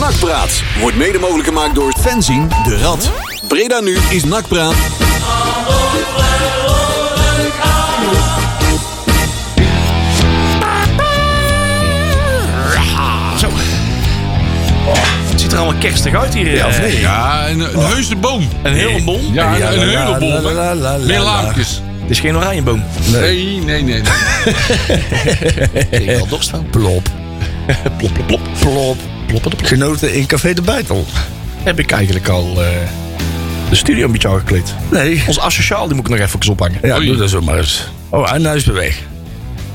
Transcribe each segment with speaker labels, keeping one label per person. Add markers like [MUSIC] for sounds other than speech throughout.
Speaker 1: Nakpraat wordt mede mogelijk gemaakt door Fenzien de Rad. Breda nu is Nakpraat.
Speaker 2: Zo. Oh, het ziet er allemaal kerstig uit hier. eh. Ja,
Speaker 3: Ja, een, een heuse boom.
Speaker 2: Een hele bom.
Speaker 3: Ja,
Speaker 4: Oh. Ja,
Speaker 3: een
Speaker 4: la, la,
Speaker 3: hele
Speaker 4: la,
Speaker 3: boom.
Speaker 4: la,
Speaker 3: hè.
Speaker 4: la, la,
Speaker 3: Meer
Speaker 4: la.
Speaker 3: laampjes.
Speaker 2: Dit is geen oranje boom.
Speaker 3: Nee, nee, nee.
Speaker 4: [LAUGHS]
Speaker 3: nee.
Speaker 2: Ik heb wel dorst van.
Speaker 4: Plop.
Speaker 2: Plop, plop, plop.
Speaker 4: Plop.
Speaker 2: Plop, plop.
Speaker 4: Genoten in Café de Bijtel.
Speaker 2: Heb ik eigenlijk al eh, de studio een beetje aangekleed.
Speaker 4: Nee.
Speaker 2: Ons asociaal, die moet ik nog even ophangen.
Speaker 4: Ja,
Speaker 3: Oei.
Speaker 4: doe dat zo maar eens. Oh, en hij is weer weg.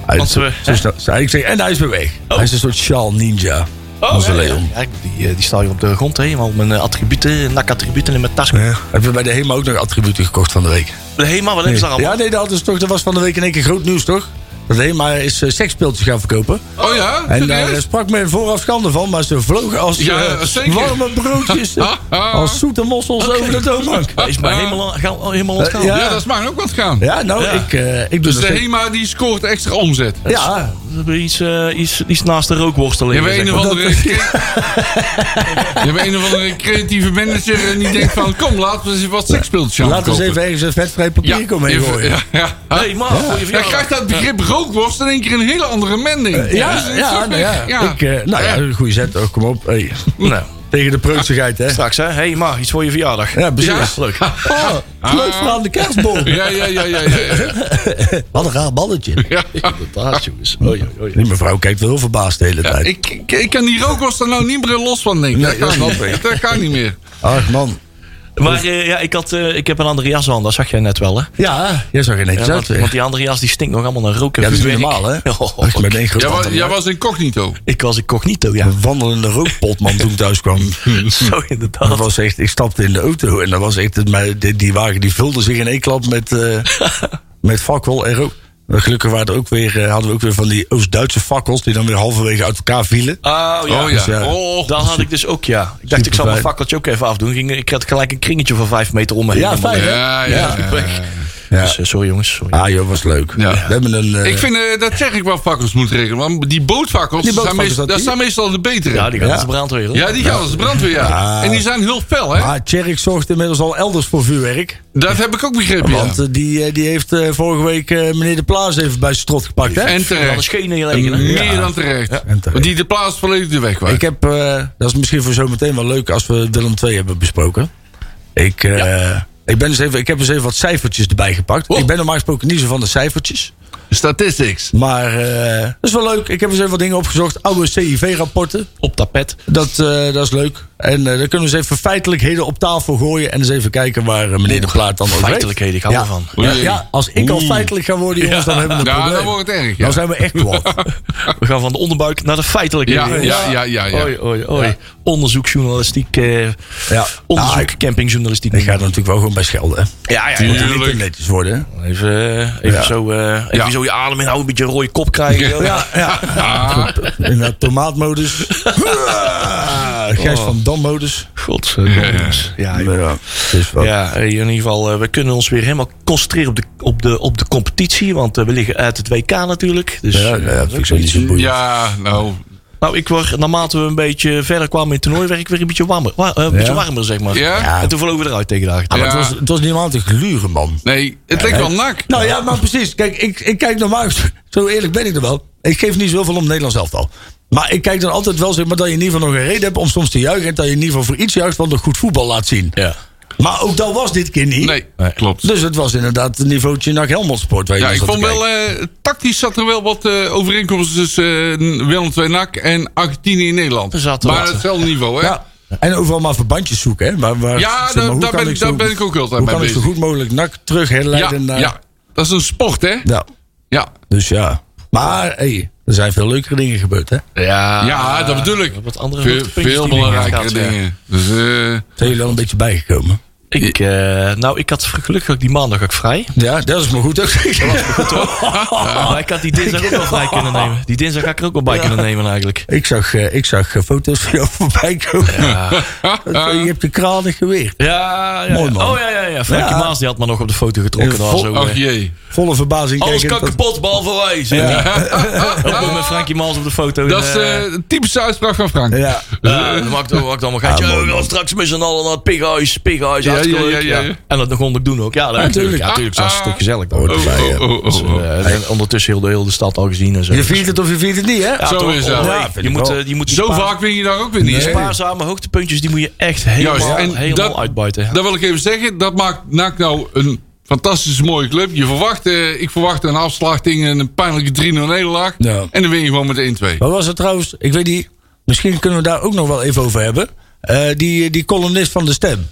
Speaker 4: Hij
Speaker 2: Want we-
Speaker 4: zo snel- zo- ik zeg, en hij is weer weg. Hij is een soort Sjaal Ninja. Onze
Speaker 2: ja,
Speaker 4: Leon.
Speaker 2: ja. Ja, die, eh, die sta je op de grond, hè, helemaal mijn eh, attributen, nak-attributen in mijn tas.
Speaker 4: Ja. Hebben we bij de HEMA ook nog attributen gekocht van de week?
Speaker 2: Helemaal, wat hebben ze daar allemaal?
Speaker 4: Ja, nee, dat, is toch, dat was van de week in één keer groot nieuws, toch? Dat de HEMA is eh, seksspeeltjes gaan verkopen.
Speaker 3: Oh ja?
Speaker 4: En daar eh,
Speaker 3: Serieus?
Speaker 4: sprak men vooraf schande van, maar ze vlogen als
Speaker 3: Ja,
Speaker 4: eh,
Speaker 3: zeker.
Speaker 4: warme broodjes, eh, als zoete mossels over de toonbank.
Speaker 2: Is maar helemaal, aan- gaan- oh, helemaal aan het gaan.
Speaker 4: Eh,
Speaker 3: Ja, dat is mij ook wat gaan.
Speaker 4: Ja, nou,
Speaker 2: Ja.
Speaker 4: ik, eh, ik doe
Speaker 3: Dus
Speaker 4: nog
Speaker 3: de
Speaker 4: steeds-
Speaker 3: HEMA die scoort extra omzet.
Speaker 4: Ja,
Speaker 2: We hebben iets, eh, iets, iets naast de rookworsteling.
Speaker 3: Je hebt, een
Speaker 2: zeg
Speaker 3: of
Speaker 2: maar.
Speaker 3: andere cre- je hebt een of andere creatieve manager en die denkt van... kom, laten we eens wat seksspeeltjes aan
Speaker 4: laten we eens even ergens een vetvrij papier komen heen gooien.
Speaker 3: Ja, ja.
Speaker 2: Nee, maar voor je
Speaker 3: Dan krijgt
Speaker 2: verjaardag.
Speaker 3: dat begrip rookworst in één keer een hele andere mending. Dus
Speaker 4: Ja,
Speaker 3: het is
Speaker 4: ja,
Speaker 3: ook
Speaker 4: nou
Speaker 3: echt-
Speaker 4: ja. Ik, eh, nou ja,
Speaker 3: Ja.
Speaker 4: een goede zet. Oh, kom op. Hey.
Speaker 2: Nou,
Speaker 4: Tegen de preutsigheid, hè?
Speaker 2: straks hè. hey, maar iets voor je verjaardag.
Speaker 4: Ja, precies.
Speaker 2: Leuk.
Speaker 4: Oh, leuk verhaal aan de kerstboom.
Speaker 3: Ja, ja, ja, ja, ja, ja.
Speaker 4: Wat een raar balletje.
Speaker 3: Ja.
Speaker 2: Inderdaad, jongens. Oei, oei, oei.
Speaker 4: Die mevrouw kijkt wel heel verbaasd de hele tijd.
Speaker 3: Ik, ik, ik kan die rookworst er nou niet meer los van denken.
Speaker 4: Nee,
Speaker 3: dat, kan
Speaker 4: dat snap
Speaker 3: niet.
Speaker 4: ik.
Speaker 3: dat kan niet meer.
Speaker 4: Ach, man.
Speaker 2: Maar eh, ja, ik, had, eh, ik heb een andere jas aan, dat zag jij net wel hè.
Speaker 4: Ja, jij zag er netjes
Speaker 2: Ja,
Speaker 4: uit
Speaker 2: want,
Speaker 4: weer.
Speaker 2: want die andere jas die stinkt nog allemaal naar roken.
Speaker 4: Ja, dat is niet normaal, hè?
Speaker 2: [LAUGHS] Oh,
Speaker 4: Als je met één groot
Speaker 3: Jij was,
Speaker 4: aantal-
Speaker 3: jij was incognito.
Speaker 2: Ik was incognito, ja.
Speaker 4: oh Een wandelende rookpotman toen ik thuis kwam.
Speaker 2: Zo
Speaker 4: Dat
Speaker 2: inderdaad.
Speaker 4: was echt, ik stapte in de auto en dat was echt, het- maar die, die wagen die vulde zich in één klap met, eh
Speaker 3: [LAUGHS]
Speaker 4: met fakkel en rook. Maar Gelukkig waren er ook weer, eh, hadden we ook weer van die Oost-Duitse fakkels die dan weer halverwege uit elkaar vielen.
Speaker 2: Oh ja.
Speaker 3: Oh
Speaker 4: Dus ja.
Speaker 3: ja. Oh,
Speaker 2: Dat had ik dus ook, ja. Ik dacht, ik zal mijn
Speaker 4: Superfijn.
Speaker 2: fakkeltje ook even afdoen. Ging, ik had gelijk een kringetje van vijf meter om me heen.
Speaker 4: Ja, fijn, hè?
Speaker 3: ja, ja, ja.
Speaker 4: Ja.
Speaker 2: [LAUGHS] Dus, eh, sorry jongens, sorry.
Speaker 4: Ah joh, was leuk.
Speaker 3: Ja.
Speaker 4: We hebben een... eh,
Speaker 3: Ik vind, eh, dat zeg ik wel, fakkels moet regelen. Want die bootfakkels,
Speaker 4: Die
Speaker 3: daar zijn,
Speaker 4: bootvakkers,
Speaker 3: meestal,
Speaker 4: dat
Speaker 3: daar
Speaker 4: die?
Speaker 3: staan meestal de betere.
Speaker 2: Ja, die gaat
Speaker 4: Ja.
Speaker 2: als de brandweer. hoor.
Speaker 3: Ja, die gaan als de brandweer, ja.
Speaker 4: Ja.
Speaker 3: En die zijn heel fel, hè?
Speaker 4: maar Ah, Tjerk zorgt inmiddels al elders voor vuurwerk.
Speaker 3: Dat heb ik ook begrepen, ja.
Speaker 4: Want eh, die, eh, die heeft eh, vorige week eh, meneer De Plaas even bij zijn strot gepakt. Hè?
Speaker 3: En
Speaker 2: Van de
Speaker 3: terecht.
Speaker 2: schenen in je
Speaker 3: En
Speaker 2: rekenen.
Speaker 3: Meer dan terecht.
Speaker 4: en terecht.
Speaker 3: Want die de plaats volledig de weg kwijt.
Speaker 4: Ik heb, eh, dat is misschien voor zometeen wel leuk als we Willem 2 hebben besproken. Ik, eh, ik, ben eens even, ik heb eens even wat cijfertjes erbij gepakt.
Speaker 3: Oh.
Speaker 4: Ik ben normaal gesproken niet zo van de cijfertjes.
Speaker 3: Statistics.
Speaker 4: Maar eh, dat is wel leuk. Ik heb eens even wat dingen opgezocht. Oude CIV-rapporten.
Speaker 2: Op tapet.
Speaker 4: Dat, eh, dat is leuk. En eh dan kunnen we eens even feitelijkheden op tafel gooien. En eens even kijken waar eh, meneer De Plaat dan over
Speaker 2: Feitelijkheden, ik hou
Speaker 4: ja.
Speaker 2: ervan.
Speaker 4: Ja,
Speaker 3: Oei.
Speaker 4: ja, als ik al feitelijk ga worden, jongens, dan hebben we een
Speaker 3: Ja,
Speaker 4: probleem. Nou,
Speaker 3: dan wordt het erg, ja.
Speaker 4: Dan zijn we
Speaker 3: [LAUGHS]
Speaker 4: echt kwaad.
Speaker 2: We gaan van de onderbuik naar de feitelijke.
Speaker 3: Ja,
Speaker 2: wereld.
Speaker 3: ja, ja, ja, ja.
Speaker 2: Oei, oei, oei. Onderzoeksjournalistiek. eh,
Speaker 4: ja.
Speaker 2: onderzoek,
Speaker 4: Nou, ik,
Speaker 2: campingjournalistiek.
Speaker 4: ik ga er natuurlijk wel gewoon bij schelden. hè.
Speaker 2: Ja, ja.
Speaker 4: Het
Speaker 3: Tuurlijk.
Speaker 4: moet niet te netjes worden. hè.
Speaker 2: Even, eh, even,
Speaker 4: Ja.
Speaker 2: Zo, eh, even
Speaker 3: Ja.
Speaker 2: zo je adem inhouden, een beetje een rode kop
Speaker 4: [LAUGHS]
Speaker 2: krijgen. joh.
Speaker 4: Ja, ja.
Speaker 3: Ah, Ah.
Speaker 4: In de tomaatmodus. Gijs
Speaker 3: Oh.
Speaker 4: van Dam-modus.
Speaker 2: Godverdomme. Ja, joh.
Speaker 4: Ja, het is wel-
Speaker 2: eh, ja, eh, in ieder geval, eh, we kunnen ons weer helemaal concentreren op de, op de, op de competitie. Want eh, we liggen uit het WK natuurlijk. Dus,
Speaker 4: Ja, ja, dat vind ik zo niet zo boeiend.
Speaker 3: eh, ja, nou.
Speaker 2: Nou, ik word, naarmate we een beetje verder kwamen in het toernooi, werd ik weer een beetje warmer, wa- eh, een beetje warmer zeg maar.
Speaker 3: Ja?
Speaker 2: En toen vlogen we eruit tegen de
Speaker 4: Ah,
Speaker 2: achter.
Speaker 4: maar het,
Speaker 3: Ja.
Speaker 4: was, het was niet normaal te gluren, man.
Speaker 3: Nee, het leek wel nak.
Speaker 4: Nou ja, maar precies. Kijk, ik, ik kijk normaal, zo eerlijk ben ik er wel. Ik geef niet zoveel om Nederlands elftal. Maar ik kijk dan altijd wel zeg maar dat je in ieder geval nog een reden hebt om soms te juichen. En dat je in ieder geval voor iets juicht wat nog goed voetbal laat zien.
Speaker 2: Ja.
Speaker 4: Maar ook dat was dit keer niet.
Speaker 3: Nee, klopt.
Speaker 4: Dus het was inderdaad een niveautje naar Helmond Sport. waar je
Speaker 3: Ja,
Speaker 4: naar
Speaker 3: ik
Speaker 4: zat te
Speaker 3: vond
Speaker 4: kijken.
Speaker 3: wel, eh, tactisch zat er wel wat eh, overeenkomsten tussen eh, Willem II NAC en Argentinië in Nederland.
Speaker 2: Er zaten
Speaker 3: Maar
Speaker 2: wat.
Speaker 3: hetzelfde niveau, hè?
Speaker 4: Ja. En overal maar verbandjes zoeken. Hè? Waar, waar,
Speaker 3: Ja,
Speaker 4: zeg maar,
Speaker 3: daar-
Speaker 4: hoe
Speaker 3: daar
Speaker 4: kan
Speaker 3: ben ik-
Speaker 4: zo-
Speaker 3: daar ben ik ook altijd
Speaker 4: hoe
Speaker 3: mee
Speaker 4: kan ik zo
Speaker 3: bezig.
Speaker 4: goed mogelijk nak terug
Speaker 3: ja,
Speaker 4: herleiden naar...
Speaker 3: ja. Dat is een sport, hè?
Speaker 4: eh, Ja.
Speaker 3: Ja,
Speaker 4: Dus ja. Maar, hey, er zijn veel leukere dingen gebeurd, hè?
Speaker 2: Ja,
Speaker 3: ja dat bedoel ik.
Speaker 2: Wat andere
Speaker 3: Veel,
Speaker 2: hoogtepuntjes
Speaker 3: veel
Speaker 2: die we
Speaker 3: belangrijkere
Speaker 2: gehad, ja.
Speaker 3: dingen. Dus, eh,
Speaker 4: Zijn jullie wel een beetje bijgekomen?
Speaker 2: Ik, eh, nou, ik had gelukkig ook die maandag ook vrij. Oh,
Speaker 4: Ja, dat is maar goed ook.
Speaker 2: Maar ik had die dinsdag ook wel vrij kunnen nemen. Die dinsdag ga ik er ook wel bij kunnen nemen eigenlijk.
Speaker 4: ik zag, eh, ik zag eh, foto's van jou voorbij komen. [LAUGHS] Je hebt je kranig geweer.
Speaker 2: Ja, ja.
Speaker 4: Mooi, man.
Speaker 2: Oh ja, ja, ja. Frankie
Speaker 4: Ja.
Speaker 2: Maas die had me nog op de foto getrokken.
Speaker 4: Eh,
Speaker 2: Dat was
Speaker 4: vol-
Speaker 2: ook, eh,
Speaker 3: oh, Ach jee.
Speaker 4: Volle verbazing.
Speaker 2: alles
Speaker 4: kijkend
Speaker 2: kan
Speaker 4: dat-
Speaker 2: kapot, behalve wij. zei hij. Ook nog met Frankie Maas op de foto.
Speaker 3: Dat is
Speaker 2: En, eh,
Speaker 3: de typische uitspraak van Frank.
Speaker 4: Ja,
Speaker 2: Ja, dat maakt, dat maakt allemaal gaatje. Ja, we gaan straks met z'n allen naar het pighuis. Pighuis,
Speaker 3: Ja,
Speaker 2: hartstikke
Speaker 3: ja, ja,
Speaker 2: leuk.
Speaker 3: ja, ja.
Speaker 2: En dat kon ik doen ook. Ja, dat- natuurlijk. Ja, natuurlijk. Het was
Speaker 3: Ah,
Speaker 2: hartstikke gezellig. dan.
Speaker 4: Oh,
Speaker 3: Oh, oh, oh,
Speaker 2: Dus,
Speaker 3: oh, oh.
Speaker 2: eh, en ondertussen heel de, heel de stad al gezien en zo.
Speaker 4: je viert het of je viert het niet, hè?
Speaker 2: Ja,
Speaker 3: Zo
Speaker 2: toch?
Speaker 3: is dat.
Speaker 2: Oh, nee.
Speaker 4: Ja, vind
Speaker 2: je
Speaker 4: ik
Speaker 2: moet,
Speaker 4: wel.
Speaker 2: eh, je moet die
Speaker 3: Zo
Speaker 2: paar-
Speaker 3: vaak win je daar ook weer niet. hè?
Speaker 2: spaarzame hoogtepuntjes, die moet je echt helemaal,
Speaker 3: Juist, en
Speaker 2: helemaal
Speaker 3: dat-
Speaker 2: uitbuiten.
Speaker 3: Dat wil ik even zeggen. Dat maakt NAC nou een fantastische mooie club. Je verwacht, eh, ik verwacht een afslachting en een pijnlijke 3-0 nederlaag.
Speaker 4: Ja.
Speaker 3: En dan win je gewoon met 1-2.
Speaker 4: Wat was het trouwens? Ik weet niet. Misschien kunnen we daar ook nog wel even over hebben. Eh, die, die columnist van de stem.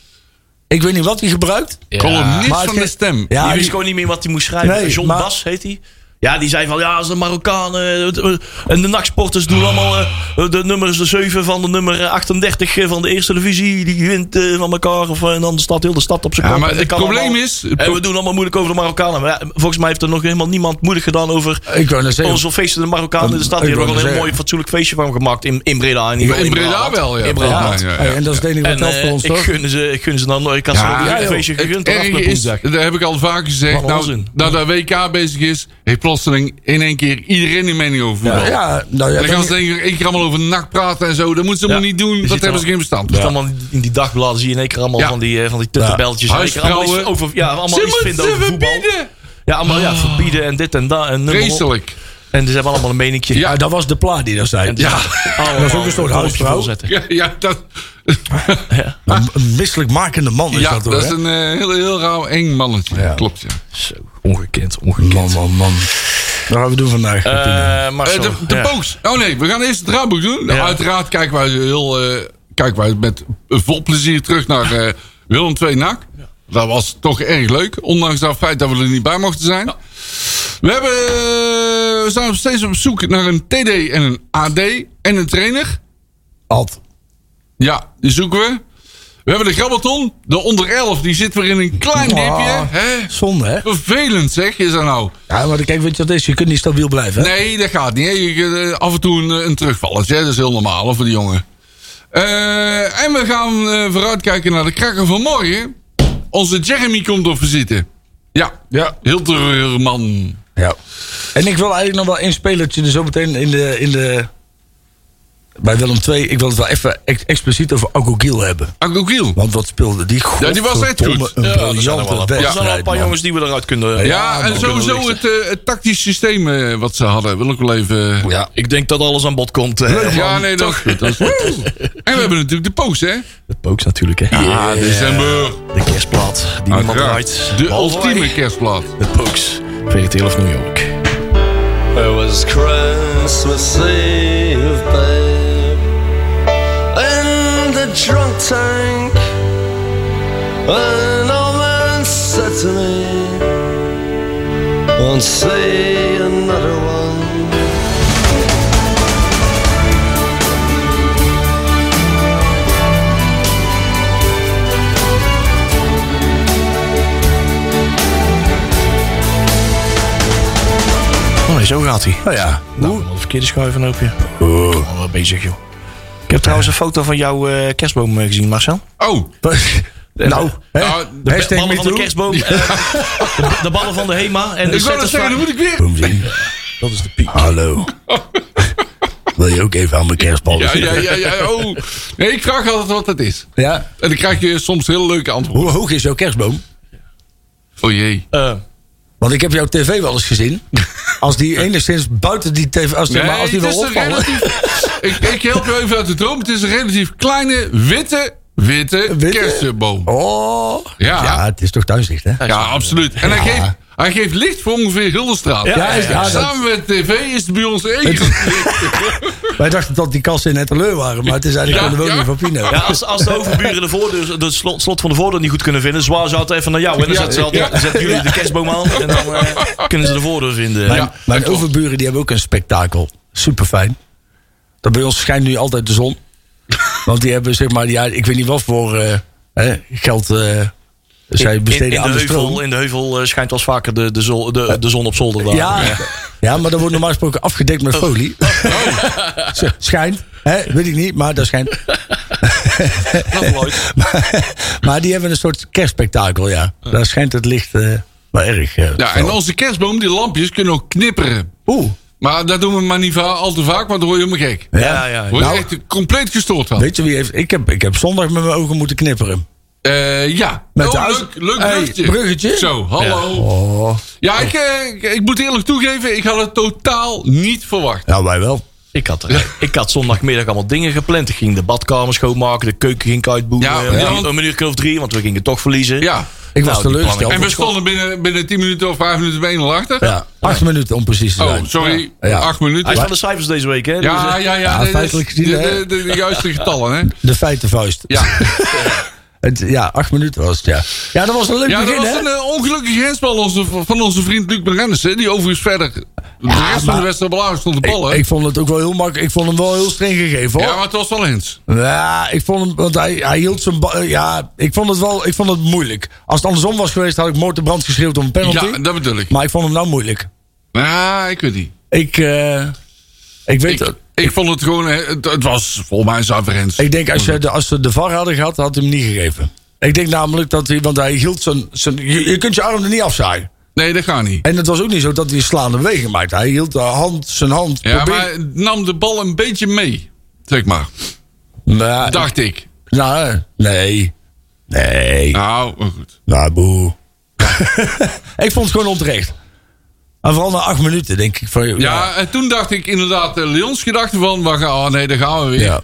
Speaker 4: Ik weet niet wat hij gebruikt.
Speaker 3: Columnist
Speaker 4: maar het
Speaker 3: van
Speaker 4: ge-
Speaker 3: de stem.
Speaker 4: Ja,
Speaker 2: die wist
Speaker 4: die-
Speaker 2: gewoon niet meer wat hij moest schrijven.
Speaker 4: Nee,
Speaker 2: John
Speaker 4: maar-
Speaker 2: Bas heet hij. Ja, die zei van ja, als de Marokkanen eh, eh, en de nachtsporters doen allemaal eh, de nummers de 7 van de nummer eh, 38 van de eerste divisie. Die wint eh, van elkaar of, eh, en dan staat heel de stad op zijn
Speaker 3: Ja,
Speaker 2: kop.
Speaker 3: maar
Speaker 2: En
Speaker 3: het
Speaker 2: kan
Speaker 3: probleem
Speaker 2: allemaal-
Speaker 3: is-
Speaker 2: En we doen allemaal moeilijk over de Marokkanen. Maar ja, volgens mij heeft er nog helemaal niemand moeilijk gedaan over
Speaker 4: Ik wou net zeggen.
Speaker 2: onze feesten de Marokkanen in de stad. Die
Speaker 4: Ik
Speaker 2: hebben
Speaker 4: wou
Speaker 2: er
Speaker 4: net
Speaker 2: wel een heel
Speaker 4: zeggen.
Speaker 2: mooi fatsoenlijk feestje van gemaakt. In, in Breda. In, ieder geval
Speaker 3: In Breda
Speaker 2: Brabant.
Speaker 3: wel, ja.
Speaker 2: In Brabant.
Speaker 3: Ja, ja, ja.
Speaker 4: Hey, en dat is het enige wat
Speaker 2: En
Speaker 4: telt voor
Speaker 2: eh,
Speaker 4: ons,
Speaker 2: ik,
Speaker 4: toch?
Speaker 2: gun ze, ik gun ze dan nooit. Ik had ze ook
Speaker 3: Ja,
Speaker 2: een
Speaker 3: joh.
Speaker 2: feestje gegund.
Speaker 3: Het
Speaker 2: eraf
Speaker 3: erge
Speaker 2: met
Speaker 3: is,
Speaker 2: woensdag.
Speaker 3: dat heb ik al vaak gezegd.
Speaker 2: Wat een
Speaker 3: Nou,
Speaker 2: onzin.
Speaker 3: dat de WK bezig is, heeft plotseling in één keer iedereen een mening over voetbal.
Speaker 4: Ja, ja, nou ja,
Speaker 3: En dan
Speaker 4: dan-
Speaker 3: gaan ze denk ik één keer allemaal over NAC praten en zo. Dat moeten ze helemaal
Speaker 2: Ja.
Speaker 3: niet doen.
Speaker 2: Je
Speaker 3: Dat
Speaker 2: ziet
Speaker 3: hebben
Speaker 2: al-
Speaker 3: ze geen bestand.
Speaker 2: Dus allemaal in die dagbladen zie je in één keer allemaal
Speaker 3: Ja.
Speaker 2: van die, eh, van die tuttenbeltjes.
Speaker 3: Ja.
Speaker 2: In één keer allemaal iets
Speaker 3: Huisvrouwen.
Speaker 2: Over, ja, allemaal iets
Speaker 3: Ze moeten
Speaker 2: vinden
Speaker 3: ze
Speaker 2: over voetbal.
Speaker 3: verbieden! Ah.
Speaker 2: Ja, allemaal ja, verbieden en dit en dat. En, nummer op.
Speaker 3: Vreselijk. [LAUGHS]
Speaker 2: en ze hebben allemaal een meninkje.
Speaker 4: Ja, dat was de plaat die daar zei.
Speaker 2: En ze
Speaker 4: Ja.
Speaker 2: allemaal
Speaker 4: Dat is ook een soort
Speaker 2: kopje
Speaker 4: huisvrouw.
Speaker 2: volzetten.
Speaker 3: Ja, ja, dat,
Speaker 2: Ja.
Speaker 4: Een een misselijkmakende man is
Speaker 3: ja,
Speaker 4: dat
Speaker 3: dat,
Speaker 4: toch,
Speaker 3: is
Speaker 4: hè?
Speaker 3: een eh, heel, heel rauw, eng mannetje.
Speaker 4: Ja.
Speaker 3: Klopt, ja.
Speaker 2: Zo, ongekend, ongekend.
Speaker 4: Man, man, man. Wat gaan we doen vandaag? Martine?
Speaker 2: Eh, maar
Speaker 3: Eh,
Speaker 2: zo,
Speaker 3: de de
Speaker 2: ja.
Speaker 3: Pooks. Oh nee, we gaan eerst het draaiboek doen. Nou, Uiteraard kijken wij, heel, eh, kijken wij met vol plezier terug naar eh, Willem II NAC. Dat was toch erg leuk. Ondanks dat feit dat we er niet bij mochten zijn. We, hebben, eh, we zijn nog steeds op zoek naar een TD en een AD en een trainer.
Speaker 4: Ad.
Speaker 3: Ja, die zoeken we. We hebben de Grabbelton. De onder 11, die zit weer in een klein dipje.
Speaker 4: Ah,
Speaker 3: Hè?
Speaker 4: Zonde, hè?
Speaker 3: Vervelend zeg, is dat nou.
Speaker 4: Ja, maar kijk, weet je wat het is? Je kunt niet stabiel blijven, hè?
Speaker 3: Nee, dat gaat niet. hè. Je, kunt, eh, af en toe een, een terugvalletje. hè. Dat is heel normaal hè, voor die jongen. Eh, en we gaan eh, vooruitkijken naar de krakker van morgen. Onze Jeremy komt op visite. Ja,
Speaker 4: Ja.
Speaker 3: heel terreur man.
Speaker 4: Ja. En ik wil eigenlijk nog wel één spelertje er zo meteen in de... In de bij Willem 2, ik wil het wel even ex- expliciet over Agogiel hebben.
Speaker 3: Agogiel.
Speaker 4: Want wat speelde die?
Speaker 3: Ja, die was echt
Speaker 4: Godverdomme,
Speaker 3: goed.
Speaker 4: Een
Speaker 2: Ja, er zijn er wel een
Speaker 4: briljante
Speaker 2: paar- er zijn er wel een
Speaker 4: wedstrijd,
Speaker 2: paar
Speaker 4: man.
Speaker 2: jongens die we eruit kunnen.
Speaker 3: Ja, en
Speaker 2: kunnen
Speaker 3: sowieso
Speaker 2: lichten.
Speaker 3: het, eh, het tactisch systeem eh, wat ze hadden. Wil ik wel even...
Speaker 4: Ja.
Speaker 2: Ik denk dat alles aan bod komt. eh.
Speaker 3: Ja, nee, dat is goed. Dat is goed.
Speaker 4: [LAUGHS]
Speaker 3: en we hebben natuurlijk de post, hè?
Speaker 2: De pooks natuurlijk, hè.
Speaker 1: Ah,
Speaker 3: Ja,
Speaker 1: dus
Speaker 3: december.
Speaker 2: De kerstplaat die niemand
Speaker 3: Uiteraard.
Speaker 2: draait.
Speaker 3: De
Speaker 2: Behalve
Speaker 3: ultieme
Speaker 2: wij.
Speaker 3: kerstplaat.
Speaker 2: De pooks. VRT of New York.
Speaker 5: It was Christmas Eve, babe. In the drunk tank, an old man said to me, Won't see another one.
Speaker 2: Oh nee, zo gaat hij.
Speaker 4: Nou ja.
Speaker 2: Nou, de verkeerde schuiven open. je.
Speaker 4: Oh.
Speaker 2: Oh, wat bezig, joh. Ik heb trouwens een foto van jouw eh, kerstboom eh, gezien, Marcel.
Speaker 4: [LAUGHS]
Speaker 3: Oh,
Speaker 4: nou, hè?
Speaker 3: Nou, de
Speaker 4: Hashtag
Speaker 2: ballen
Speaker 4: me
Speaker 2: van de
Speaker 4: too.
Speaker 2: kerstboom. eh, de, de ballen van de HEMA. En de
Speaker 3: ik wou
Speaker 2: setters
Speaker 3: dat zeggen,
Speaker 2: van-
Speaker 3: dan moet ik weer.
Speaker 4: Kom zien.
Speaker 2: Dat is de piek. [LAUGHS]
Speaker 4: Hallo. Wil je ook even aan mijn kerstballen
Speaker 3: Ja, ja,
Speaker 4: zitten?
Speaker 3: ja, ja. Oh. Nee, ik vraag altijd wat dat is.
Speaker 4: Ja.
Speaker 3: En dan krijg je soms hele leuke antwoorden.
Speaker 4: Hoe hoog is jouw kerstboom?
Speaker 3: Oh jee.
Speaker 2: Eh,
Speaker 4: Want ik heb jouw tv wel eens gezien. Als
Speaker 2: [LAUGHS]
Speaker 4: die enigszins buiten die tv... Als, die- maar als die
Speaker 3: het
Speaker 4: wel
Speaker 3: is een
Speaker 4: opvallen... [LAUGHS]
Speaker 3: relatief- ik, ik help je even uit de droom. Het is een relatief kleine, witte, witte,
Speaker 4: Witte?
Speaker 3: kersenboom.
Speaker 4: Oh.
Speaker 3: Ja.
Speaker 4: het is toch thuislicht, hè?
Speaker 3: Ja, absoluut. En hij geeft, hij geeft licht voor ongeveer heel de straat.
Speaker 4: Ja, ja, ja,
Speaker 3: Samen met tv is het bij ons één.
Speaker 4: Wij dachten dat die kasten in het teleur waren, maar het is eigenlijk
Speaker 3: Ja,
Speaker 4: gewoon de woning
Speaker 3: ja.
Speaker 4: van Pino.
Speaker 2: ja, als, als de overburen de, voordeur, de slot, slot van de voordeur niet goed kunnen vinden, zwaar ze altijd even naar jou. En dan
Speaker 3: Ja,
Speaker 2: zetten, ze altijd,
Speaker 3: ja.
Speaker 2: zetten jullie de kerstboom aan en dan eh, kunnen ze de voordeur vinden.
Speaker 4: Mijn, mijn overburen die hebben ook een spektakel. Super fijn. Dat bij ons schijnt nu altijd de zon. Want die hebben zeg maar, ja, ik weet niet wat voor eh, hè, geld eh, Zij besteden
Speaker 2: in, in de
Speaker 4: aan de stroom.
Speaker 2: heuvel, in de heuvel eh, schijnt wel eens vaker de, de, zon, de, de zon op zolder. daar.
Speaker 4: Ja, ja, maar dat wordt normaal gesproken afgedekt met folie.
Speaker 2: Oh.
Speaker 4: [LAUGHS] Zo, Schijnt. Hè? Weet ik niet, maar dat schijnt.
Speaker 2: Dat nooit.
Speaker 4: maar, maar die hebben een soort kerstspectakel, ja. Daar schijnt het licht eh, wel erg. eh,
Speaker 3: Ja, en onze kerstboom, die lampjes, kunnen ook knipperen.
Speaker 4: Oeh.
Speaker 3: Maar dat doen we maar niet va- al te vaak, want dan word je helemaal gek.
Speaker 2: Ja, ja. ja.
Speaker 3: Word je
Speaker 4: Nou.
Speaker 3: echt compleet gestoord van.
Speaker 4: Weet je wie heeft... Ik heb, ik heb zondag met mijn ogen moeten knipperen.
Speaker 3: Eh, ja.
Speaker 4: Met de
Speaker 3: oh,
Speaker 4: huis-
Speaker 3: leuk, leuk
Speaker 4: Hey,
Speaker 3: bruggetje.
Speaker 4: bruggetje.
Speaker 3: Zo, hallo. Ja,
Speaker 4: Oh.
Speaker 3: ik, eh, ik, ik moet eerlijk toegeven, ik had het totaal niet verwacht.
Speaker 4: Nou, wij wel.
Speaker 2: Ik, had, er- ik had zondagmiddag allemaal dingen gepland. Ik ging de badkamer schoonmaken, de keuken ging ik uitboeren.
Speaker 3: Ja,
Speaker 2: Ja,
Speaker 3: ja.
Speaker 2: Een minuut of drie, want we gingen toch verliezen.
Speaker 3: Ja.
Speaker 4: Ik
Speaker 2: Nou,
Speaker 4: was
Speaker 2: die
Speaker 4: teleurgesteld.
Speaker 2: plannen-
Speaker 3: En we stonden binnen, binnen 10 minuten of 5 minuten bij een achter.
Speaker 4: Ja, acht minuten om precies te zijn.
Speaker 3: Oh, sorry.
Speaker 4: Ja. Ja.
Speaker 3: 8
Speaker 2: Hij is
Speaker 3: minuten.
Speaker 2: van de cijfers deze week, hè? Dus,
Speaker 3: Ja,
Speaker 2: eh,
Speaker 3: ja, ja.
Speaker 4: Ja,
Speaker 3: dit is
Speaker 4: feitelijk gezien,
Speaker 3: de, de,
Speaker 4: hè.
Speaker 3: de- de juiste getallen, hè?
Speaker 4: De feitenvuist. [LAUGHS]
Speaker 3: Ja,
Speaker 4: Het, ja, acht minuten was het, ja. Ja, dat was een leuk
Speaker 3: ja dat
Speaker 4: begin,
Speaker 3: was
Speaker 4: hè?
Speaker 3: een eh, ongelukkige hensbal onze, van onze vriend Luc Marennissen. Die overigens verder de
Speaker 4: Ja,
Speaker 3: rest van de
Speaker 4: maar-
Speaker 3: wedstrijd belangrijk stond te
Speaker 4: Ik,
Speaker 3: ballen.
Speaker 4: ik vond het ook wel heel makkelijk. Ik vond hem wel heel streng gegeven,
Speaker 3: Ja, maar
Speaker 4: hoor.
Speaker 3: het was wel hens.
Speaker 4: Ja, ik vond hem... Want hij, hij hield zijn... ba- eh, Ja, ik vond het wel... Ik vond het moeilijk. Als het andersom was geweest, had ik moord de brand geschreeuwd om een penalty.
Speaker 3: Ja, dat bedoel ik.
Speaker 4: Maar ik vond hem nou moeilijk.
Speaker 3: Ja, ik weet niet.
Speaker 4: Ik... eh, ik weet...
Speaker 3: Ik, ik vond het gewoon... eh, Het, het was volgens mij zuiver hens.
Speaker 4: Ik denk, als, je de, als ze de VAR hadden gehad, had hij hem niet gegeven. Ik denk namelijk dat hij, want hij hield zijn... zijn je, je kunt je arm er niet afzaaien.
Speaker 3: Nee, dat gaat niet.
Speaker 4: En het was ook niet zo dat hij een slaande beweging maakte. Hij hield de hand, zijn hand...
Speaker 3: Ja,
Speaker 4: probeer-
Speaker 3: maar hij nam de bal een beetje mee. Zeg maar.
Speaker 4: Nou,
Speaker 3: Dacht ik.
Speaker 4: nou, nee. Nee.
Speaker 3: Nou, maar goed.
Speaker 4: Nou, boe. [LAUGHS] ik vond het gewoon onterecht. En vooral na acht minuten, denk ik. Van, ja,
Speaker 3: Ja, en toen dacht ik inderdaad... eh, Leons gedachte van... Waar gaan, oh nee, daar gaan we weer.
Speaker 4: Ja.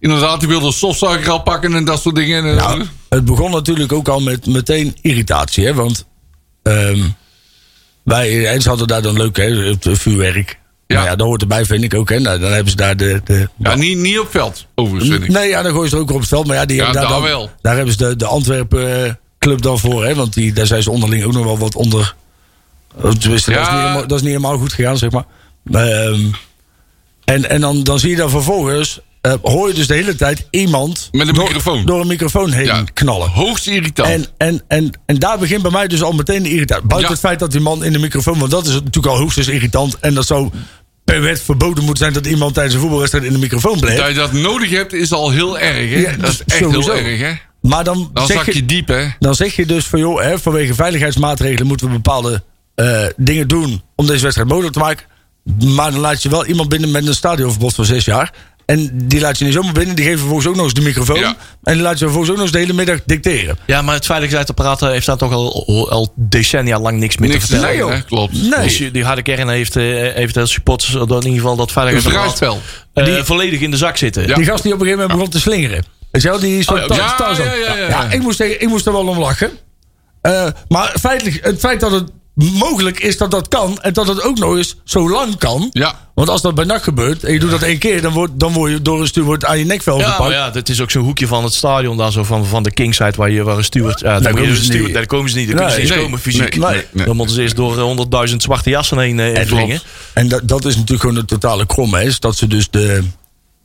Speaker 3: Inderdaad, die wilde een stofzuiger al pakken en dat soort dingen. Eh,
Speaker 4: Nou, het begon natuurlijk ook al met meteen irritatie, hè? Want ehm, wij, en ze hadden daar dan leuk, hè, het vuurwerk.
Speaker 3: Ja.
Speaker 4: Ja. ja, dat hoort erbij, vind ik ook, hè? Nou, dan hebben ze daar de. de
Speaker 3: Ja, niet, niet op veld, overigens, vind ik.
Speaker 4: nee, ja, dan gooien ze er ook op het veld. Maar ja, die
Speaker 3: Ja,
Speaker 4: hebben daar,
Speaker 3: daar
Speaker 4: dan-
Speaker 3: wel.
Speaker 4: daar hebben ze de, de Antwerpen eh, club dan voor, hè? Want die, daar zijn ze onderling ook nog wel wat onder. Of tenminste,
Speaker 3: Ja.
Speaker 4: dat, is niet helemaal, dat is niet helemaal goed gegaan, zeg maar. Ehm, en en dan, dan zie je dan vervolgens. eh, hoor je dus de hele tijd iemand
Speaker 3: Met een
Speaker 4: door-
Speaker 3: microfoon.
Speaker 4: door een microfoon heen
Speaker 3: Ja.
Speaker 4: knallen.
Speaker 3: Hoogst irritant.
Speaker 4: Nou. En, en, en, en daar begint bij mij dus al meteen de irritatie. Buiten
Speaker 3: Ja.
Speaker 4: het feit dat die man in de microfoon... want dat is natuurlijk al hoogstens irritant... en dat zou per wet verboden moet zijn... dat iemand tijdens een voetbalwedstrijd in de microfoon
Speaker 3: dat
Speaker 4: blijft.
Speaker 3: je dat nodig hebt, is al heel erg, hè?
Speaker 4: Ja,
Speaker 3: dat is echt
Speaker 4: sowieso.
Speaker 3: heel erg, hè?
Speaker 4: Maar dan,
Speaker 3: Dan
Speaker 4: zeg
Speaker 3: zak je
Speaker 4: je,
Speaker 3: diep, hè?
Speaker 4: dan zeg je dus van... joh, hè, vanwege veiligheidsmaatregelen moeten we bepaalde eh, dingen doen... om deze wedstrijd mogelijk te maken. Maar dan laat je wel iemand binnen met een stadionverbod van zes jaar... En die laat je niet zomaar binnen. Die geven vervolgens ook nog eens de microfoon.
Speaker 3: Ja.
Speaker 4: En die laat je vervolgens ook nog eens de hele middag dicteren.
Speaker 2: ja, maar het veiligheidsapparaat eh, heeft daar toch al, al- al decennia lang niks meer
Speaker 3: Niks
Speaker 2: te
Speaker 3: te
Speaker 2: vertellen.
Speaker 3: zeggen, hè? Klopt.
Speaker 4: Nee.
Speaker 2: Dus je- die harde kern heeft, eh, heeft als supporters dat in ieder geval dat veiligheidsapparaat
Speaker 3: Een
Speaker 2: eh, volledig in de zak zitten.
Speaker 3: Ja.
Speaker 4: Die gast die op een gegeven moment begon te slingeren. Weet je wel, die soort
Speaker 3: Oh,
Speaker 4: tas-
Speaker 3: ja,
Speaker 4: Tarzan.
Speaker 3: ja, ja, ja.
Speaker 4: ik, moest, tegen- ik moest er wel om lachen. Eh, maar feitelijk, het feit dat het mogelijk is dat dat kan... en dat het ook nog eens zo lang kan...
Speaker 3: Ja.
Speaker 4: want als dat bij nacht gebeurt en je doet dat één keer... dan word, dan word je door een stuurwoord aan je nekvel
Speaker 2: Ja,
Speaker 4: gepakt.
Speaker 2: maar ja, dat is ook zo'n hoekje van het stadion daar, zo van, van de Kingside, waar je waar een steward... Ja, daar,
Speaker 4: Daar
Speaker 2: moet je
Speaker 4: komen
Speaker 2: een
Speaker 4: ze
Speaker 2: steward-
Speaker 4: niet.
Speaker 2: daar komen ze niet, daar
Speaker 4: Nee,
Speaker 2: kunnen ze niet eens
Speaker 3: nee,
Speaker 2: komen fysiek.
Speaker 3: nee,
Speaker 4: nee,
Speaker 3: nee.
Speaker 2: Dan moeten ze eerst door eh, honderdduizend zwarte jassen heen eh,
Speaker 4: En,
Speaker 2: wringen.
Speaker 4: en dat, dat is natuurlijk gewoon de totale kromme. Hè, is dat ze dus de,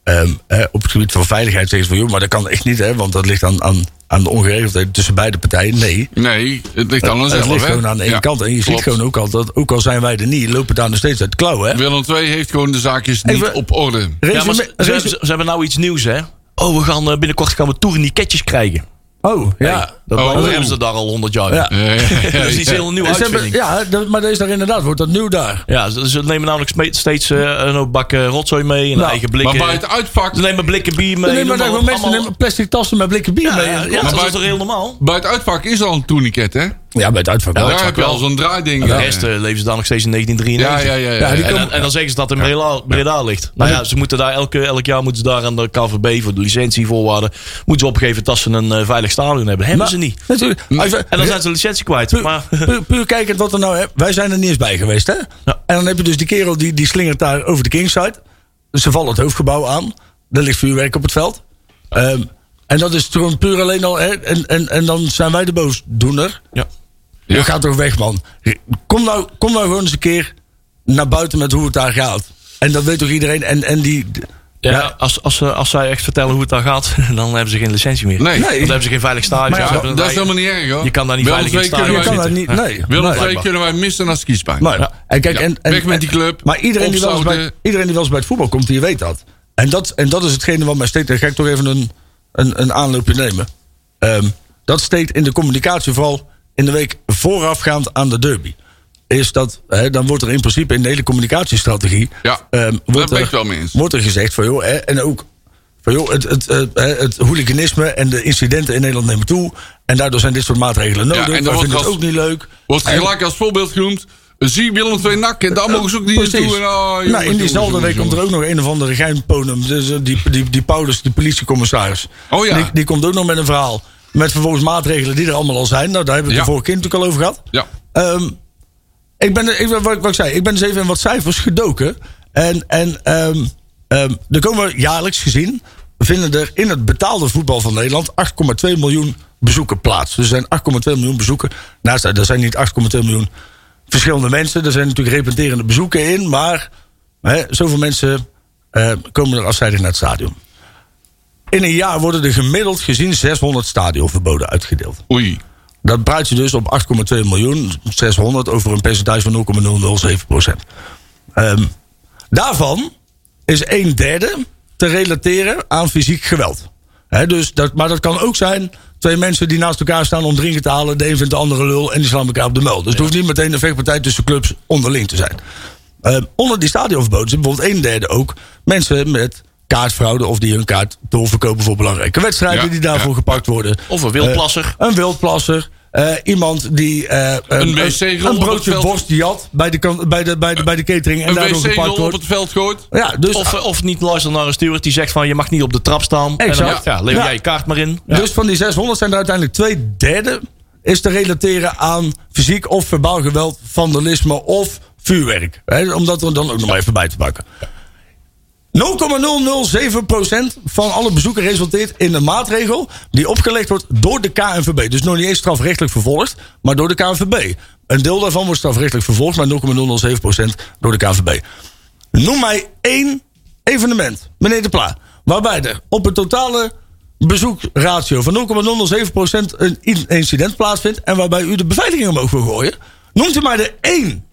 Speaker 4: ehm, hè, op het gebied van veiligheid zeggen van... joh, maar dat kan echt niet, hè, want dat ligt aan, aan, aan de ongeregeldheid tussen beide partijen. Nee,
Speaker 3: Nee, het ligt aan
Speaker 4: Het
Speaker 3: onszelf,
Speaker 4: ligt
Speaker 3: hè?
Speaker 4: gewoon aan één
Speaker 3: Ja,
Speaker 4: kant. En je
Speaker 3: klopt.
Speaker 4: ziet gewoon ook al dat, ook al zijn wij er niet, lopen daar nog steeds uit de klauwen. Hè?
Speaker 3: Willem II heeft gewoon de zaakjes niet
Speaker 4: Even-
Speaker 3: op orde.
Speaker 2: Ja, maar ze,
Speaker 4: Resume-
Speaker 2: ze-
Speaker 4: resu-
Speaker 2: ze- ze hebben nou iets nieuws, hè? Oh, we gaan eh, binnenkort gaan we tourniquetjes krijgen.
Speaker 4: oh, ja.
Speaker 2: Dat
Speaker 3: Oh.
Speaker 2: dat hebben ze daar al honderd jaar.
Speaker 4: [LAUGHS]
Speaker 2: [LAUGHS]
Speaker 4: Ja.
Speaker 3: Eh,
Speaker 2: Dat is iets heel nieuw
Speaker 4: Ze hebben,
Speaker 2: uitvinding. Ja,
Speaker 4: ja, dat- maar dat is daar inderdaad, wordt dat nieuw daar.
Speaker 2: ze, ze nemen namelijk sme- steeds eh, een hoop bak eh, rotzooi mee en
Speaker 4: Nou,
Speaker 2: eigen
Speaker 3: Maar
Speaker 2: blikken.
Speaker 3: bij het
Speaker 2: ze
Speaker 3: uitpakken,
Speaker 2: nemen blikken bier mee.
Speaker 4: Nee, maar
Speaker 2: noem
Speaker 4: daar
Speaker 2: maar
Speaker 4: gewoon
Speaker 2: op,
Speaker 4: mensen
Speaker 2: allemaal-
Speaker 4: nemen plastic tassen met blikken bier mee.
Speaker 2: Ja,
Speaker 4: Ja,
Speaker 2: ja,
Speaker 4: ja.
Speaker 2: dat
Speaker 3: bij
Speaker 2: is
Speaker 3: het-
Speaker 2: toch heel normaal?
Speaker 3: bij het uitpakken is al een tourniquet, hè?
Speaker 4: bij het uitvak wel.
Speaker 3: Daar heb je al zo'n draaiding.
Speaker 2: De
Speaker 3: hè?
Speaker 2: rest eh, leven ze dan nog steeds in
Speaker 3: Ja,
Speaker 2: 1993.
Speaker 3: ja, ja.
Speaker 4: Ja,
Speaker 3: ja,
Speaker 4: die
Speaker 3: ja.
Speaker 2: En
Speaker 4: komen-
Speaker 2: dan, en dan zeggen ze dat in Breda, Breda ligt. Nou ja, ze moeten daar elke, elk jaar moeten ze daar aan de KVB voor de licentievoorwaarden moeten ze opgeven dat ze een eh, veilig stadion hebben. Hebben
Speaker 4: Maar-
Speaker 2: ze niet.
Speaker 4: Natuurlijk. Als we-
Speaker 2: En dan zijn ze de licentie kwijt.
Speaker 4: Puur,
Speaker 2: Maar
Speaker 4: puur, puur kijkend wat er nou... Hè. Wij zijn er niet eens bij geweest, hè?
Speaker 2: Ja.
Speaker 4: En dan heb je dus die kerel die, die slingert daar over de Kingside. Ze vallen het hoofdgebouw aan. Er ligt vuurwerk op het veld. Ehm, en dat is gewoon puur alleen al... Hè. En, en, en dan zijn wij de boosdoener.
Speaker 2: ja.
Speaker 3: Ja.
Speaker 4: Je gaat toch weg, man. Kom nou, kom nou gewoon eens een keer naar buiten met hoe het daar gaat. En dat weet toch iedereen. En, en die,
Speaker 2: Ja,
Speaker 4: Ja.
Speaker 2: Als, als, ze- als zij echt vertellen hoe het daar gaat, [LAUGHS] dan hebben ze geen licentie meer.
Speaker 3: Nee.
Speaker 2: Dan hebben ze geen veilig stadion.
Speaker 4: Maar ja,
Speaker 2: Ze hebben
Speaker 3: Dat is
Speaker 2: wij-
Speaker 3: helemaal niet erg hoor.
Speaker 2: Je kan daar niet
Speaker 3: Willem
Speaker 2: veilig in
Speaker 3: II
Speaker 2: het stadion
Speaker 3: kunnen
Speaker 4: Je kan
Speaker 3: wij-
Speaker 4: daar
Speaker 2: zitten.
Speaker 4: niet. Nee.
Speaker 3: Willem
Speaker 4: nee.
Speaker 3: II kunnen wij missen als kiespijn.
Speaker 4: Nee. Nou En kijk,
Speaker 3: Ja,
Speaker 4: en, en,
Speaker 3: weg met die club.
Speaker 4: Maar iedereen die, wel eens bij,
Speaker 3: Opzouten.
Speaker 4: iedereen die wel eens bij het voetbal komt, die weet dat. En dat, en dat is hetgene wat mij steekt. Daar ga ik toch even een, een, een aanloopje nemen. Ehm, dat steekt in de communicatie vooral in de week voorafgaand aan de derby. Is dat, hè, dan wordt er in principe in de hele communicatiestrategie...
Speaker 3: Ja,
Speaker 4: ehm,
Speaker 3: daar
Speaker 4: wordt
Speaker 3: ben
Speaker 4: er-
Speaker 3: ik wel mee eens.
Speaker 4: Wordt er gezegd van, joh, hè, en ook... Van, joh, het, het, eh, hè, het hooliganisme en de incidenten in Nederland nemen toe. En daardoor zijn dit soort maatregelen nodig.
Speaker 3: en dan
Speaker 4: Ja, en
Speaker 3: wordt
Speaker 4: vinden het
Speaker 3: als-
Speaker 4: ook niet leuk.
Speaker 3: Wordt
Speaker 4: En-
Speaker 3: gelijk als voorbeeld genoemd. Zie Willem II nak en daar mogen ze ook niet
Speaker 4: Precies.
Speaker 3: naartoe. En, ah, jongens,
Speaker 4: nou, in
Speaker 3: jongens,
Speaker 4: diezelfde
Speaker 3: jongens,
Speaker 4: week komt er
Speaker 3: jongens.
Speaker 4: ook nog een of andere geinponum. Dus eh, die, die, die Paulus, die politiecommissaris.
Speaker 3: Oh ja.
Speaker 4: Die, die komt ook nog met een verhaal. Met vervolgens maatregelen die er allemaal al zijn. Nou, daar hebben we het
Speaker 3: Ja.
Speaker 4: de vorige keer natuurlijk al over gehad.
Speaker 3: Ja.
Speaker 4: Ehm, ik ben, er- ik, wat, ik- wat ik zei, ik ben dus even in wat cijfers gedoken. En, en ehm, ehm, er komen jaarlijks gezien, vinden er in het betaalde voetbal van Nederland 8,2 miljoen bezoeken plaats. Dus er zijn 8,2 miljoen bezoeken. Naast, er zijn niet 8,2 miljoen verschillende mensen. Er zijn natuurlijk repeterende bezoeken in. Maar hè, zoveel mensen eh, komen er afzijdig naar het stadion. In een jaar worden er gemiddeld gezien 600 stadionverboden uitgedeeld.
Speaker 3: Oei.
Speaker 4: Dat praat je dus op 8,2 miljoen, 600, over een percentage van 0,007 procent. Ehm, daarvan is een derde te relateren aan fysiek geweld. Hè, dus dat, maar dat kan ook zijn twee mensen die naast elkaar staan om drinken te halen. De een vindt de andere lul en die slaan elkaar op de muil. Dus het hoeft niet meteen een vechtpartij tussen clubs onderling te zijn. Eh, onder die stadionverboden zit bijvoorbeeld een derde ook mensen met kaartfraude of die hun kaart doorverkopen voor belangrijke wedstrijden
Speaker 3: Ja,
Speaker 4: die daarvoor
Speaker 3: ja.
Speaker 4: gepakt worden.
Speaker 2: Of een wildplasser.
Speaker 4: Eh, een wildplasser. Eh, iemand die eh,
Speaker 3: Een wc-rol op
Speaker 4: een
Speaker 3: het
Speaker 4: broodje
Speaker 3: veld.
Speaker 4: worst die had bij de, kan- bij de, bij de, bij de catering en
Speaker 3: Een
Speaker 4: daardoor
Speaker 3: wc-rol
Speaker 4: gepakt
Speaker 3: op
Speaker 4: wordt.
Speaker 3: het veld gooit.
Speaker 4: Ja, dus,
Speaker 2: Of, eh, of niet luisteren naar een steward die zegt van je mag niet op de trap staan. En dan,
Speaker 4: Exact.
Speaker 2: mag- ja, lever
Speaker 4: Ja.
Speaker 2: jij je kaart maar in.
Speaker 3: eh,
Speaker 4: dus van die 600 zijn er uiteindelijk twee derde is te relateren aan fysiek of verbaal geweld, vandalisme of vuurwerk. Hè, om dat er dan ook nog maar even bij te pakken. 0,007% van alle bezoeken resulteert in een maatregel die opgelegd wordt door de KNVB. Dus nog niet eens strafrechtelijk vervolgd, maar door de KNVB. Een deel daarvan wordt strafrechtelijk vervolgd, maar 0,007% door de KNVB. Noem mij één evenement, meneer De Pla, waarbij er op een totale bezoekratio van 0,007% een in- incident plaatsvindt en waarbij u de beveiliging omhoog wil gooien. Noemt u mij er één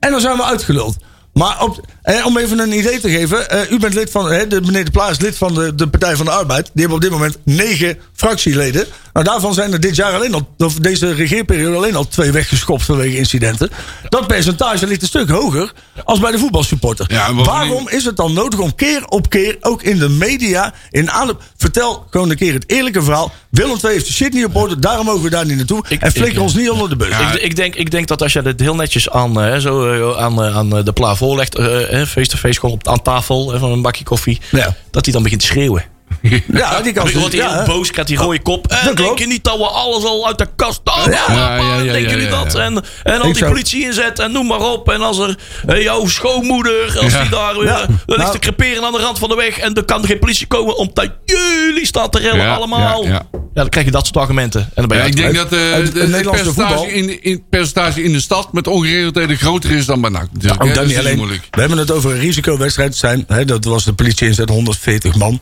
Speaker 4: en dan zijn we uitgeluld. Maar op, eh, om even een idee te geven. eh, u bent lid van, hè, de, meneer De Plaas, lid van de, de Partij van de Arbeid. Die hebben op dit moment negen fractieleden. Nou, daarvan zijn er dit jaar alleen al, of deze regeerperiode alleen al twee weggeschopt vanwege incidenten. Dat percentage ligt een stuk hoger als bij de voetbalsupporter.
Speaker 3: Ja, en bovendien-
Speaker 4: Waarom is het dan nodig om keer op keer, ook in de media, in aanloop... Vertel gewoon een keer het eerlijke verhaal. Willem II heeft de shit niet op orde, daarom mogen we daar niet naartoe.
Speaker 2: Ik-
Speaker 4: en flikker
Speaker 2: ik-
Speaker 4: ons niet onder de beugel.
Speaker 2: Ik, ik, denk, ik denk dat als je dit heel netjes aan, eh, zo, eh, aan, eh, aan eh, de pla voorlegt, eh, eh, face-to-face gewoon op, aan tafel eh, van een bakje koffie,
Speaker 4: Ja.
Speaker 2: dat hij dan begint te schreeuwen.
Speaker 4: ja, die kan
Speaker 2: Dan wordt hij
Speaker 4: ja,
Speaker 2: heel
Speaker 4: hè.
Speaker 2: boos, krijgt die rode kop. En denk
Speaker 4: klopt.
Speaker 2: je niet dat we alles al uit de kast halen?
Speaker 4: Ja.
Speaker 3: Ja, ja, ja,
Speaker 2: denk
Speaker 3: ja,
Speaker 2: jullie
Speaker 3: ja,
Speaker 2: dat?
Speaker 3: ja.
Speaker 2: En, en al
Speaker 4: Ik
Speaker 2: die
Speaker 4: zou-
Speaker 2: politie inzet en noem maar op. En als er eh, jouw schoonmoeder, als
Speaker 3: Ja.
Speaker 2: die daar weer
Speaker 4: Ja.
Speaker 2: eh, ligt
Speaker 4: Nou.
Speaker 2: te creperen aan de rand van de weg. En er kan geen politie komen omdat jullie staan te rellen
Speaker 3: Ja,
Speaker 2: allemaal.
Speaker 3: ja,
Speaker 2: Ja,
Speaker 3: ja.
Speaker 2: dan krijg je dat soort argumenten. En dan ben je
Speaker 3: Ja, ik
Speaker 2: uit.
Speaker 3: denk
Speaker 4: het-
Speaker 3: dat eh,
Speaker 4: het- het
Speaker 3: de- het
Speaker 4: Nederlandse voetbal-
Speaker 3: percentage in, de- in, percentage in de stad met ongeregeldheden groter is dan bij NAC. Dus natuurlijk,
Speaker 4: Ook
Speaker 3: hè.
Speaker 4: dat
Speaker 3: is
Speaker 4: niet alleen.
Speaker 3: moeilijk.
Speaker 4: We hebben het over een risicowedstrijd. Zijn, hè, dat was de politie inzet, 140 man.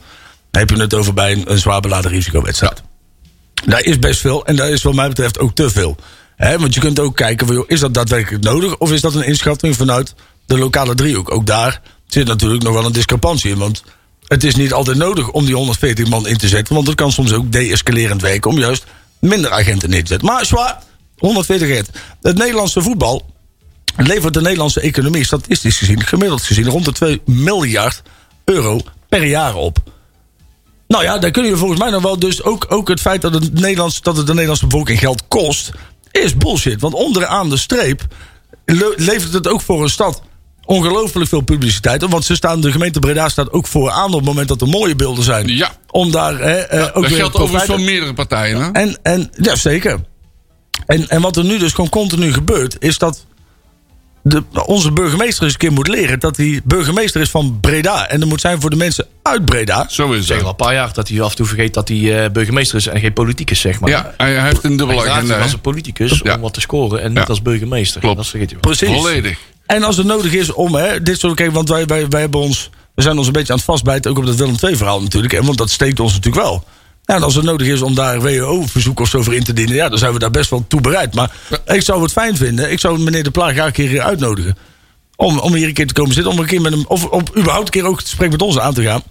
Speaker 4: Dan heb je het over bij een, een zwaar beladen risicowedstrijd. Daar is best veel en daar is wat mij betreft ook te veel. Hè, want je kunt ook kijken, van, joh, is dat daadwerkelijk nodig? Of is dat een inschatting vanuit de lokale driehoek? Ook daar zit natuurlijk nog wel een discrepantie in. Want het is niet altijd nodig om die 140 man in te zetten. Want het kan soms ook deescalerend werken om juist minder agenten neer te zetten. Maar zwaar, 140 agenten. Het Nederlandse voetbal levert de Nederlandse economie statistisch gezien, gemiddeld gezien, rond de 2 miljard euro per jaar op. Nou ja, daar kun je volgens mij nog wel. Dus ook, ook het feit dat het, Nederlands, dat het de Nederlandse bevolking geld kost, is bullshit. Want onderaan de streep le- levert het ook voor een stad ongelooflijk veel publiciteit. op. Want ze staan, de gemeente Breda staat ook vooraan op het moment dat er mooie beelden zijn.
Speaker 3: Ja.
Speaker 4: Om daar hè, eh, ook
Speaker 3: Dat
Speaker 4: weer
Speaker 3: geldt
Speaker 4: profijt-
Speaker 3: overigens voor meerdere partijen. Hè?
Speaker 4: en, en ja, zeker. En, en wat er nu dus gewoon continu gebeurt, is dat de, onze burgemeester eens een keer moet leren dat hij burgemeester is van Breda. En dat moet zijn voor de mensen uit Breda.
Speaker 3: Zo is
Speaker 2: Ik zeg al
Speaker 3: het.
Speaker 2: een paar jaar dat hij af en toe vergeet dat hij eh, burgemeester is en geen politicus, zeg maar.
Speaker 3: Ja, hij hij heeft een
Speaker 2: Hij
Speaker 3: dubbele
Speaker 2: draagt zich
Speaker 3: agenda.
Speaker 2: als
Speaker 3: hè.
Speaker 2: een politicus
Speaker 3: Ja.
Speaker 2: om wat te scoren en niet
Speaker 3: Ja.
Speaker 2: als burgemeester.
Speaker 3: Klopt.
Speaker 2: Dat vergeet je wel.
Speaker 4: Precies.
Speaker 3: Volledig.
Speaker 4: En als het nodig is om hè, dit soort. Kijk, want wij, wij, wij hebben ons. we zijn ons een beetje aan het vastbijten, ook op dat Willem II-verhaal natuurlijk. En, want dat steekt ons natuurlijk wel. Ja, en als het nodig is om daar WO-verzoek of zo voor in te dienen, ja, dan zijn we daar best wel toe bereid. Maar ik zou het fijn vinden, ik zou meneer De Plaag graag een keer uitnodigen. Om, om hier een keer te komen zitten, om een keer met hem, of, om überhaupt een keer ook het gesprek met ons aan te gaan.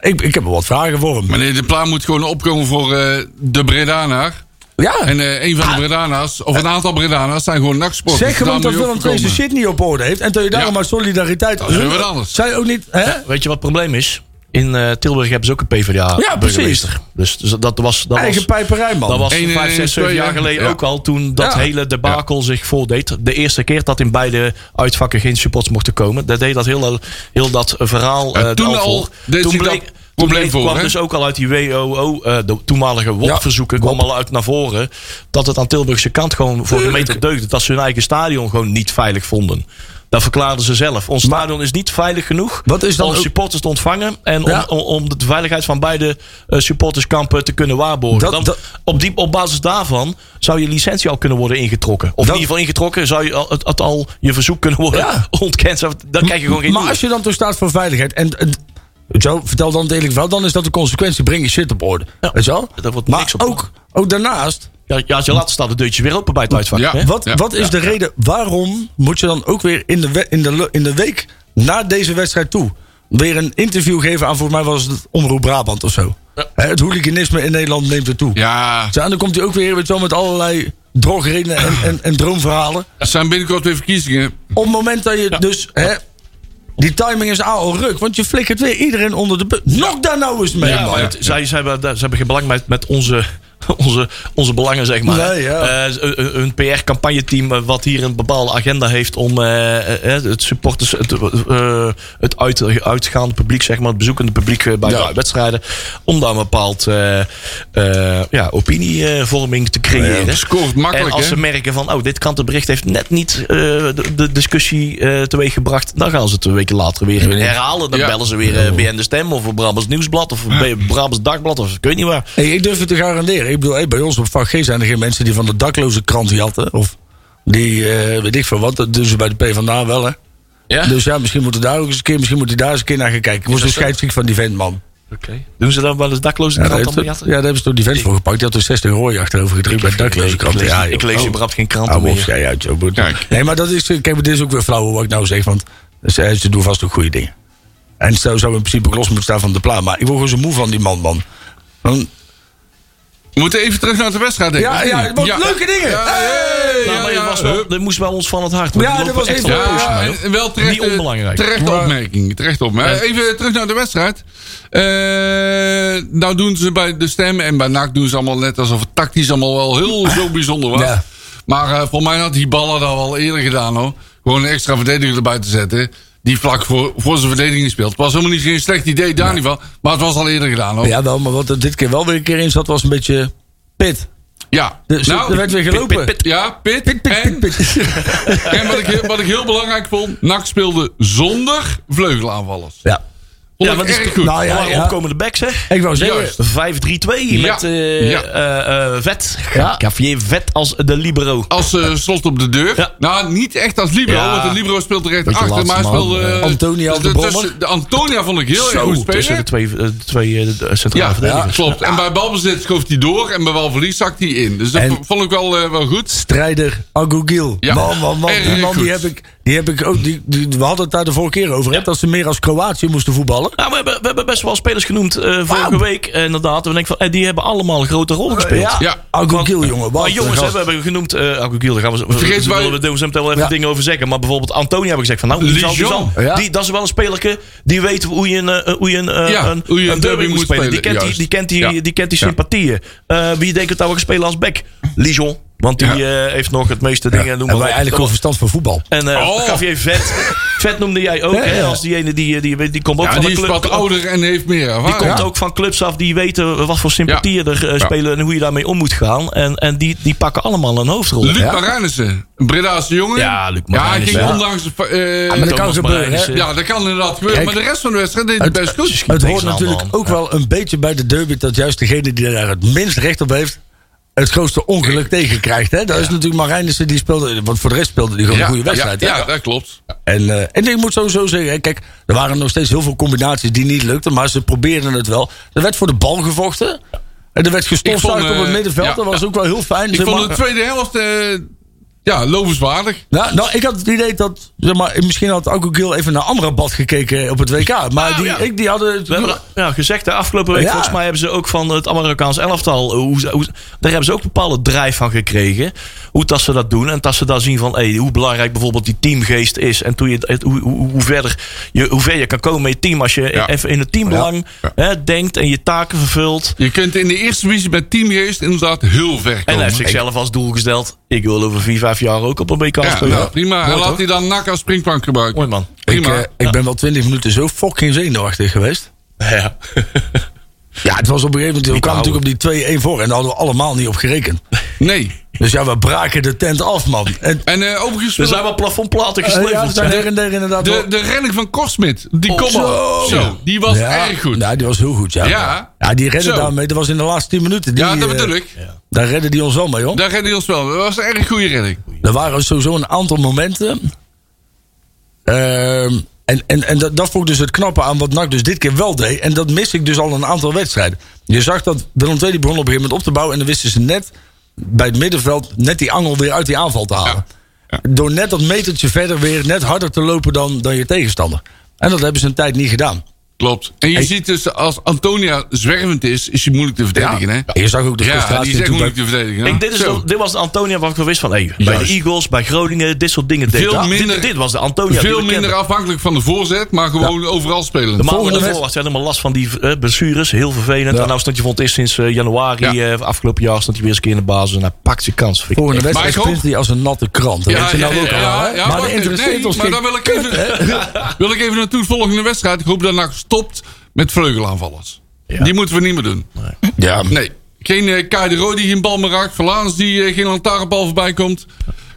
Speaker 4: Ik, ik heb wel wat vragen voor hem.
Speaker 3: Meneer De Pla moet gewoon opkomen voor eh, de Bredanaar.
Speaker 4: Ja, Ah.
Speaker 3: En Oh, eh, een van de Bredana's, of een aantal Bredana's, zijn gewoon nachtsporters.
Speaker 4: zeg gewoon
Speaker 3: Daar
Speaker 4: dat
Speaker 3: moet je
Speaker 4: Willem
Speaker 3: ook
Speaker 4: II zijn
Speaker 3: voor
Speaker 4: shit niet op orde heeft. En dat je daarom
Speaker 3: Ja.
Speaker 4: uit solidariteit...
Speaker 3: Dat is weer wat anders.
Speaker 4: Zij ook niet... Hè?
Speaker 2: Weet je wat het probleem is? In eh, Tilburg hebben ze ook een PvdA.
Speaker 4: Ja, precies.
Speaker 2: burgemeester. Dus, dus dat was. Dat
Speaker 4: Eigen
Speaker 2: was,
Speaker 4: pijperij, man.
Speaker 2: dat was
Speaker 3: Eén,
Speaker 2: vijf,
Speaker 3: eh,
Speaker 2: zes, zeven
Speaker 3: twee,
Speaker 2: jaar
Speaker 3: hè?
Speaker 2: geleden
Speaker 3: Ja.
Speaker 2: ook al. Toen dat
Speaker 4: Ja.
Speaker 2: hele debakel zich voordeed. De eerste keer dat in beide uitvakken geen supports mochten komen. Dat deed dat heel, heel dat verhaal.
Speaker 3: Ja,
Speaker 2: eh,
Speaker 3: toen
Speaker 2: daar
Speaker 3: al
Speaker 2: voor.
Speaker 3: deed zich dat
Speaker 2: toen
Speaker 3: probleem
Speaker 2: bleek-
Speaker 3: voor,
Speaker 2: kwam
Speaker 3: hè?
Speaker 2: dus ook al uit die WOO. eh, de toenmalige WOP-verzoeken kwam al uit naar voren. Dat het aan Tilburgse kant gewoon
Speaker 3: Eh,
Speaker 2: voor de meter deugde. Dat ze hun eigen stadion gewoon niet veilig vonden. Dat verklaarden ze zelf. Ons stadion is niet veilig genoeg
Speaker 4: Wat is dan
Speaker 2: om
Speaker 4: ook-
Speaker 2: supporters te ontvangen en om-
Speaker 4: Ja.
Speaker 2: om, om, de veiligheid van beide eh, supporterskampen te kunnen waarborgen.
Speaker 4: Dat-
Speaker 2: Dan-
Speaker 4: dat-
Speaker 2: op, die, op basis daarvan zou je licentie al kunnen worden ingetrokken. Of
Speaker 4: Dat-
Speaker 2: in ieder geval ingetrokken zou je al, het, het al je verzoek kunnen worden
Speaker 4: Ja.
Speaker 2: [LAUGHS] ontkend. Zo- Dan krijg je gewoon geen
Speaker 4: Maar
Speaker 2: nieuwe.
Speaker 4: als je dan toch staat voor veiligheid en... en zo, vertel dan het eerlijk verhaal. Dan is dat de consequentie. Breng je shit op orde.
Speaker 2: Ja.
Speaker 4: Weet je wel?
Speaker 2: Daar wordt
Speaker 4: maar
Speaker 2: niks op
Speaker 4: ook, ook daarnaast...
Speaker 2: Ja, ja, als je laat staat het deurtje weer open bij het uitvak.
Speaker 3: Ja.
Speaker 2: hè?
Speaker 3: Ja.
Speaker 4: Wat, wat is de reden? Waarom moet je dan ook weer in de, we- in, de, le- in de week na deze wedstrijd toe weer een interview geven aan, volgens mij was het Omroep Brabant of zo? Hè, Het hooliganisme in Nederland neemt er toe.
Speaker 3: Ja,
Speaker 4: Zo, en dan komt hij ook weer weet je wel, met allerlei drogredenen en, en, en droomverhalen.
Speaker 3: er zijn binnenkort weer verkiezingen.
Speaker 4: Op het moment dat je dus. Hè, die timing is al ruk, want je flikkert weer iedereen onder de bus. Nog daar nou eens mee,
Speaker 2: Ja,
Speaker 4: man.
Speaker 2: maar het- zij, zij hebben, daar- ze hebben geen belang met, met onze, [LAUGHS] onze, onze belangen, zeg maar.
Speaker 4: Nee, ja.
Speaker 2: Eh, een een PR-campagneteam eh, wat hier een bepaalde agenda heeft om eh, eh, het supporters, het, eh, het uit, uitgaande publiek, zeg maar, het bezoekende publiek eh, bij
Speaker 3: Ja.
Speaker 2: de wedstrijden, om daar een bepaald eh, eh, ja, opinievorming te creëren.
Speaker 3: Ja, het scoort makkelijk,
Speaker 2: en als ze
Speaker 3: hè?
Speaker 2: merken van, oh, dit krantenbericht heeft net niet eh, de, de discussie eh, teweeggebracht, dan gaan ze het een week later weer herhalen. Dan
Speaker 3: Ja.
Speaker 2: bellen ze weer eh, BN De Stem of een Brabants Nieuwsblad of een Brabants Dagblad of ik weet niet waar.
Speaker 4: Hey, ik durf het te garanderen. Ik bedoel, hey, bij ons op vak G zijn er geen mensen die van de dakloze krant jatten. Of die, eh, weet ik veel wat. Dat doen ze bij de PvdA wel, hè.
Speaker 2: Ja?
Speaker 4: Dus ja, misschien moeten we daar ook eens een keer, misschien moet hij daar eens een keer naar gaan kijken. Ik was een scheidsziek van die vent, man.
Speaker 2: Doen ze dan wel eens dakloze
Speaker 4: Ja,
Speaker 2: krant
Speaker 4: daar heeft-
Speaker 2: allemaal
Speaker 4: ja,
Speaker 2: jatten?
Speaker 4: daar hebben ze toch die vent voor gepakt. Die had er 60 rooi achterover gedrukt bij de dakloze krant.
Speaker 2: lees-
Speaker 4: Ja,
Speaker 2: ik
Speaker 4: joh.
Speaker 2: lees
Speaker 4: Oh.
Speaker 2: überhaupt geen kranten
Speaker 4: Hou op,
Speaker 2: meer.
Speaker 4: jij uit, joh. Boet.
Speaker 3: Kijk.
Speaker 4: Nee, maar dat is, kijk, maar dit is ook weer flauw wat ik nou zeg, want ze, ze doen vast ook goede dingen. En zo zou in principe ook los moeten staan van de plaat. Maar ik word gewoon zo moe van die man, man. Dan-
Speaker 3: We moeten even terug naar de wedstrijd, denk ik.
Speaker 4: Ja, ja, want leuke dingen.
Speaker 3: Ja, hey,
Speaker 2: Nou,
Speaker 3: ja,
Speaker 2: maar
Speaker 3: ja.
Speaker 2: het was wel- dat moest wel ons van het hart. want
Speaker 4: Ja,
Speaker 2: die
Speaker 4: dat
Speaker 2: lopen
Speaker 4: was
Speaker 2: echt
Speaker 4: even-
Speaker 2: wel los,
Speaker 3: Ja,
Speaker 2: man.
Speaker 3: en- en wel terecht, eh,
Speaker 2: Niet onbelangrijk.
Speaker 3: Terechte opmerking. Terecht opmerking. Even terug naar de wedstrijd. Eh, nou doen ze bij de stem en bij NAC doen ze allemaal net alsof het tactisch allemaal wel
Speaker 4: [LAUGHS]
Speaker 3: heel zo bijzonder was.
Speaker 4: Ja.
Speaker 3: Maar eh voor mij had die ballen dat al eerder gedaan hoor. Gewoon een extra verdediger erbij te zetten. Die vlak voor, voor zijn verdediging speelt. Het was helemaal niet geen slecht idee daar niet van. Maar het was al eerder gedaan hoor. Ja.
Speaker 4: Ja, wel, maar wat er dit keer wel weer een keer in zat, was een beetje pit. Dus
Speaker 3: nou,
Speaker 4: er werd weer gelopen.
Speaker 3: Ja, pit.
Speaker 4: Pit, pit,
Speaker 3: en
Speaker 4: pit, pit.
Speaker 3: [LAUGHS] en wat, ik, heel- wat ik heel belangrijk vond. NAC speelde zonder vleugelaanvallers.
Speaker 4: Ja.
Speaker 3: Vond
Speaker 2: Ja,
Speaker 3: ik
Speaker 2: wat is
Speaker 3: erg
Speaker 2: het-
Speaker 3: goed.
Speaker 4: Nou ja,
Speaker 2: Lange
Speaker 4: ja.
Speaker 2: opkomende backs, hè?
Speaker 4: Ik wou zeggen,
Speaker 3: Juist.
Speaker 2: 5-3-2
Speaker 3: Ja.
Speaker 2: met eh,
Speaker 3: Ja.
Speaker 2: eh, eh, Vet.
Speaker 4: Ja.
Speaker 2: Javier Vet als de libero.
Speaker 3: Als eh, slot op de deur.
Speaker 2: Ja.
Speaker 3: Nou, niet echt als libero,
Speaker 2: Ja.
Speaker 3: want de libero speelt er echt
Speaker 4: Beetje
Speaker 3: achter.
Speaker 4: laatste
Speaker 3: Maar hij
Speaker 4: man.
Speaker 3: speelde... eh,
Speaker 4: Antonia op de
Speaker 3: tussen-
Speaker 4: brommer.
Speaker 3: de Antonia vond ik heel erg goed spelen.
Speaker 2: tussen de twee, eh, de twee eh, de- eh, centrale
Speaker 3: ja, ja,
Speaker 2: verdedigers.
Speaker 3: klopt. En bij balbezit schoof hij door en bij balverlies zakt hij in. Dus dat
Speaker 4: En-
Speaker 3: v- vond ik wel, eh, wel goed.
Speaker 4: strijder Agugil.
Speaker 3: Ja.
Speaker 4: Man, man, man. Die
Speaker 3: Erg
Speaker 4: man,
Speaker 3: goed.
Speaker 4: die heb ik, die heb ik ook, die, die- we hadden het daar de vorige keer over, hè, dat ze meer als Kroatië moesten voetballen.
Speaker 2: Nou, we, hebben, we hebben best wel spelers genoemd eh, vorige week. eh, Inderdaad. En we denken van, eh, die hebben allemaal een grote rol gespeeld.
Speaker 3: Oh, Ja.
Speaker 4: Agugil, jongen. wat
Speaker 2: Maar
Speaker 4: een
Speaker 2: jongens, hè,
Speaker 4: gast.
Speaker 2: we hebben genoemd. eh Aguil, daar gaan we,
Speaker 3: Vergeet
Speaker 2: we,
Speaker 3: wij-
Speaker 2: willen we doen we zo meteen wel even
Speaker 4: Ja.
Speaker 2: dingen over zeggen. Maar bijvoorbeeld Antonia heb ik gezegd van nou, die, zal, die,
Speaker 3: Lijon.
Speaker 2: zal-
Speaker 4: Ja.
Speaker 2: die dat is wel een spelerke die weet hoe je een, eh, hoe je een, eh,
Speaker 3: Ja,
Speaker 2: een,
Speaker 3: hoe je een derby moet spelen,
Speaker 2: Die kent die,
Speaker 3: juist.
Speaker 2: die, kent die,
Speaker 3: Ja.
Speaker 2: die, kent die
Speaker 3: Ja.
Speaker 2: sympathieën. Eh, wie denkt dat we gaan spelen als back? Lijon. Want die eh, heeft nog het meeste dingen.
Speaker 4: Ja.
Speaker 2: noem
Speaker 4: Hebben
Speaker 2: maar
Speaker 4: wij
Speaker 2: op.
Speaker 4: eigenlijk wel verstand van voetbal.
Speaker 2: En eh
Speaker 3: Oh.
Speaker 2: Javier Vet. Vet noemde jij ook, hè?
Speaker 4: ja.
Speaker 2: Als die ene die, eh, die, die, komt ook
Speaker 3: Ja,
Speaker 2: van
Speaker 3: die
Speaker 2: de
Speaker 3: is
Speaker 2: club.
Speaker 3: wat ouder en heeft meer
Speaker 2: Die
Speaker 3: ervaring.
Speaker 2: komt
Speaker 3: Ja.
Speaker 2: ook van clubs af die weten wat voor sympathieën er eh,
Speaker 3: Ja.
Speaker 2: spelen en hoe je daarmee om moet gaan. En, en die, die pakken allemaal een hoofdrol.
Speaker 3: Luc
Speaker 4: Ja.
Speaker 3: Marijnissen, een Bredaanse jongen.
Speaker 2: Ja, Luc
Speaker 3: Ja, hij
Speaker 2: Marijnissen,
Speaker 3: ging
Speaker 2: ja.
Speaker 3: ondanks... eh,
Speaker 4: maar dat kan
Speaker 2: Thomas eh,
Speaker 4: gebeuren, hè.
Speaker 2: Marijnissen.
Speaker 3: ja, dat kan inderdaad gebeuren.
Speaker 4: Kijk,
Speaker 3: maar de rest van de wedstrijd deed hij
Speaker 4: het-
Speaker 3: best goed.
Speaker 2: Schiet
Speaker 4: Het hoort
Speaker 2: tegenaan,
Speaker 4: natuurlijk
Speaker 2: man.
Speaker 4: ook wel een beetje bij de derby dat juist degene die daar het minst recht op heeft, het grootste ongeluk tegenkrijgt. Hè? Dat is natuurlijk Marijnissen, die speelde, want voor de rest speelde die gewoon een goede wedstrijd.
Speaker 3: Ja,
Speaker 4: hè?
Speaker 3: ja, dat klopt.
Speaker 4: En, eh, en ik moet sowieso zeggen, hè, kijk, er waren nog steeds heel veel combinaties die niet lukten, maar ze probeerden het wel. Er werd voor de bal gevochten. En er werd
Speaker 3: Ik
Speaker 4: gestofzuigd
Speaker 3: vond,
Speaker 4: op het
Speaker 3: eh,
Speaker 4: middenveld.
Speaker 3: ja,
Speaker 4: dat was
Speaker 3: ja.
Speaker 4: ook wel heel fijn.
Speaker 3: Ik
Speaker 4: zeg
Speaker 3: vond
Speaker 4: maar.
Speaker 3: de tweede helft eh, ja, lovenswaardig.
Speaker 4: Nou, nou, ik had het idee dat. Zeg maar, misschien had ook Gil even naar Amrabat gekeken op het WK. Maar
Speaker 3: Nou
Speaker 2: Ah,
Speaker 4: die,
Speaker 2: ja.
Speaker 4: ik, die hadden.
Speaker 2: We hebben ja, gezegd, de afgelopen week
Speaker 4: Ja.
Speaker 2: volgens mij hebben ze ook van het Amerikaans elftal, eh, hoe, ze- hoe, ze- daar hebben ze ook bepaalde drijf van gekregen. Hoe dat ze dat doen en dat ze daar zien van hey, hoe belangrijk bijvoorbeeld die teamgeest is. En toen je, het- hoe, hoe, hoe verder je, hoe ver je kan komen met je team als je
Speaker 3: Ja.
Speaker 2: even in het teambelang hè, denkt en je taken vervult.
Speaker 3: Je kunt in de eerste divisie met teamgeest inderdaad heel ver
Speaker 2: En hij
Speaker 3: komen.
Speaker 2: heeft zichzelf als doel gesteld, ik wil over vier, vijf jaar ook op een WK
Speaker 3: Ja,
Speaker 2: spelen.
Speaker 3: nou, prima. en laat hij dan nak als springplank gebruiken.
Speaker 2: Mooi man.
Speaker 4: Ik,
Speaker 3: Prima.
Speaker 4: eh, ik ben wel 20 minuten zo fucking zenuwachtig geweest.
Speaker 2: Ja.
Speaker 4: Ja, het was op een gegeven moment. We kwamen
Speaker 2: houden.
Speaker 4: natuurlijk op die 2-1 voor. En daar hadden we allemaal niet op gerekend.
Speaker 3: nee.
Speaker 4: Dus ja, we braken de tent af, man. En,
Speaker 3: En eh,
Speaker 2: [LAUGHS]
Speaker 3: overigens,
Speaker 2: Er zijn wel plafondplaten
Speaker 4: eh, ja, we
Speaker 2: gesleuveld.
Speaker 4: zijn
Speaker 2: hè.
Speaker 4: her en der inderdaad.
Speaker 3: de,
Speaker 4: wel-
Speaker 3: de redding van Korsmit. Die
Speaker 2: Oh,
Speaker 3: kom
Speaker 2: zo.
Speaker 3: zo. zo. Die was
Speaker 4: Ja,
Speaker 3: erg goed.
Speaker 4: Nou, die was heel goed, ja.
Speaker 3: Ja.
Speaker 4: die redden
Speaker 3: Zo.
Speaker 4: daarmee. Dat was in de laatste 10 minuten. Die,
Speaker 3: ja, dat
Speaker 4: eh,
Speaker 3: bedoel ik.
Speaker 4: Daar redden die ons wel mee, hoor.
Speaker 3: Daar redde hij ons wel. Dat was een erg goede redding.
Speaker 4: Er waren sowieso een aantal momenten. Ehm, en en, en dat, dat vond ik dus het knappe aan wat NAC dus dit keer wel deed. En dat mis ik dus al een aantal wedstrijden. Je zag dat Willem II die begon op een gegeven moment op te bouwen. En dan wisten ze net bij het middenveld net die angel weer uit die aanval te halen. Door net dat metertje verder weer net harder te lopen dan, dan je tegenstander. En dat hebben ze een tijd niet gedaan.
Speaker 3: Klopt. En je
Speaker 4: Hey.
Speaker 3: ziet dus, als Antonia zwervend is, is hij moeilijk te verdedigen. hè?
Speaker 4: Je zag ook de
Speaker 3: ja die
Speaker 4: frustratie
Speaker 3: is echt
Speaker 4: toen bij-
Speaker 3: moeilijk te verdedigen. hè?
Speaker 2: Ik, dit, is
Speaker 3: Zo.
Speaker 2: de- dit was de Antonia waar ik wel wist van. Hey, bij de
Speaker 4: Juist.
Speaker 2: Eagles, bij Groningen, dit soort dingen. deed
Speaker 3: Veel
Speaker 2: hij.
Speaker 3: minder-
Speaker 2: dit, dit was de Antonia.
Speaker 3: Veel
Speaker 2: die we
Speaker 3: minder
Speaker 2: kenden.
Speaker 3: afhankelijk van de voorzet, maar gewoon overal spelen.
Speaker 2: De maanden
Speaker 4: Volgende
Speaker 2: daarvoor was
Speaker 4: wedst-
Speaker 2: helemaal last van die eh, blessures. Heel vervelend.
Speaker 4: Ja.
Speaker 2: En nou stond je voor het eerst sinds eh, januari
Speaker 3: Ja.
Speaker 2: eh, afgelopen jaar... stond hij weer eens een keer in de basis en hij pakt zijn kans. Vind ik
Speaker 4: Volgende
Speaker 2: echt-
Speaker 4: wedstrijd
Speaker 3: Maar ik
Speaker 4: sprint hij als een natte krant. Dat weet je nou ook al,
Speaker 3: ja,
Speaker 4: hè?
Speaker 3: ja,
Speaker 4: maar
Speaker 3: wacht
Speaker 4: dat
Speaker 3: even.
Speaker 4: interesseert
Speaker 3: Nee,
Speaker 4: ons
Speaker 3: Maar
Speaker 4: geen
Speaker 3: daar wil ik even, [LAUGHS] wil ik even naartoe. Volgende wedstrijd. Ik hoop dat NAC stopt met vleugelaanvallers. Die moeten we niet meer doen.
Speaker 4: Ja,
Speaker 3: Nee. Geen eh Kai de Roo die geen bal meer raakt. Verlaans die eh, geen lantaarnbal voorbij komt.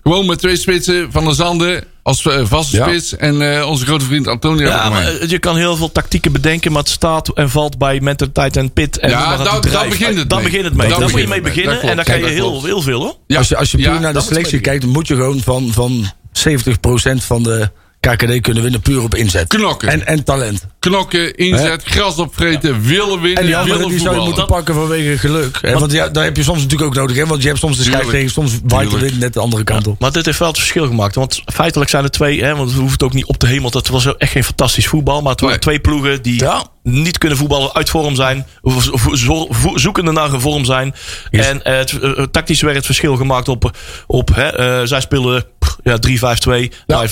Speaker 3: Gewoon met twee spitsen. Van der Zanden als eh, vaste
Speaker 4: Ja.
Speaker 3: spits. En eh, onze grote vriend Antonio.
Speaker 2: Ja, maar eh, je kan heel veel tactieken bedenken, maar het staat en valt bij mentaliteit en pit. En
Speaker 3: Ja,
Speaker 2: noem maar
Speaker 3: daar-
Speaker 2: dat die
Speaker 3: daar
Speaker 2: drijf.
Speaker 3: begint het
Speaker 2: Daar
Speaker 3: mee.
Speaker 2: begint het mee.
Speaker 3: Daar
Speaker 2: Daar moet je mee
Speaker 3: begint het
Speaker 2: beginnen.
Speaker 3: mee. Dat klopt.
Speaker 2: En daar kan
Speaker 3: Ja,
Speaker 2: je
Speaker 3: dat
Speaker 2: heel,
Speaker 3: klopt.
Speaker 2: heel veel hoor.
Speaker 3: Ja,
Speaker 4: als je, als je puur
Speaker 3: ja,
Speaker 4: naar de
Speaker 2: dat is
Speaker 4: selectie
Speaker 2: mijn
Speaker 4: kijkt, moet je gewoon van, van 70% van de KKD kunnen winnen puur op inzet.
Speaker 3: Knokken.
Speaker 4: En, en talent.
Speaker 3: knokken, inzet, gras opvreten, willen winnen,
Speaker 4: En die
Speaker 3: willen
Speaker 4: anderen die zou je
Speaker 3: voetballen.
Speaker 4: moeten pakken vanwege geluk. Hè? Want ja, daar heb je soms natuurlijk ook nodig. Hè? Want je hebt soms de
Speaker 3: Tuurlijk.
Speaker 4: scheidsrechter, soms waait de
Speaker 3: Tuurlijk.
Speaker 4: wind net de andere kant op.
Speaker 2: Maar dit heeft wel het verschil gemaakt. Want feitelijk zijn er twee. Hè, want we hoeven het ook niet op te hemelen. Dat was echt geen fantastisch voetbal. Maar het waren
Speaker 3: Nee.
Speaker 2: twee ploegen die
Speaker 4: Ja.
Speaker 2: niet kunnen voetballen. Uit vorm zijn. of zo- zo- vo- Zoekende naar een vorm zijn. En eh, het, eh, tactisch werd het verschil gemaakt op. op hè, eh, zij speelden pff, ja, 3-5-2. wij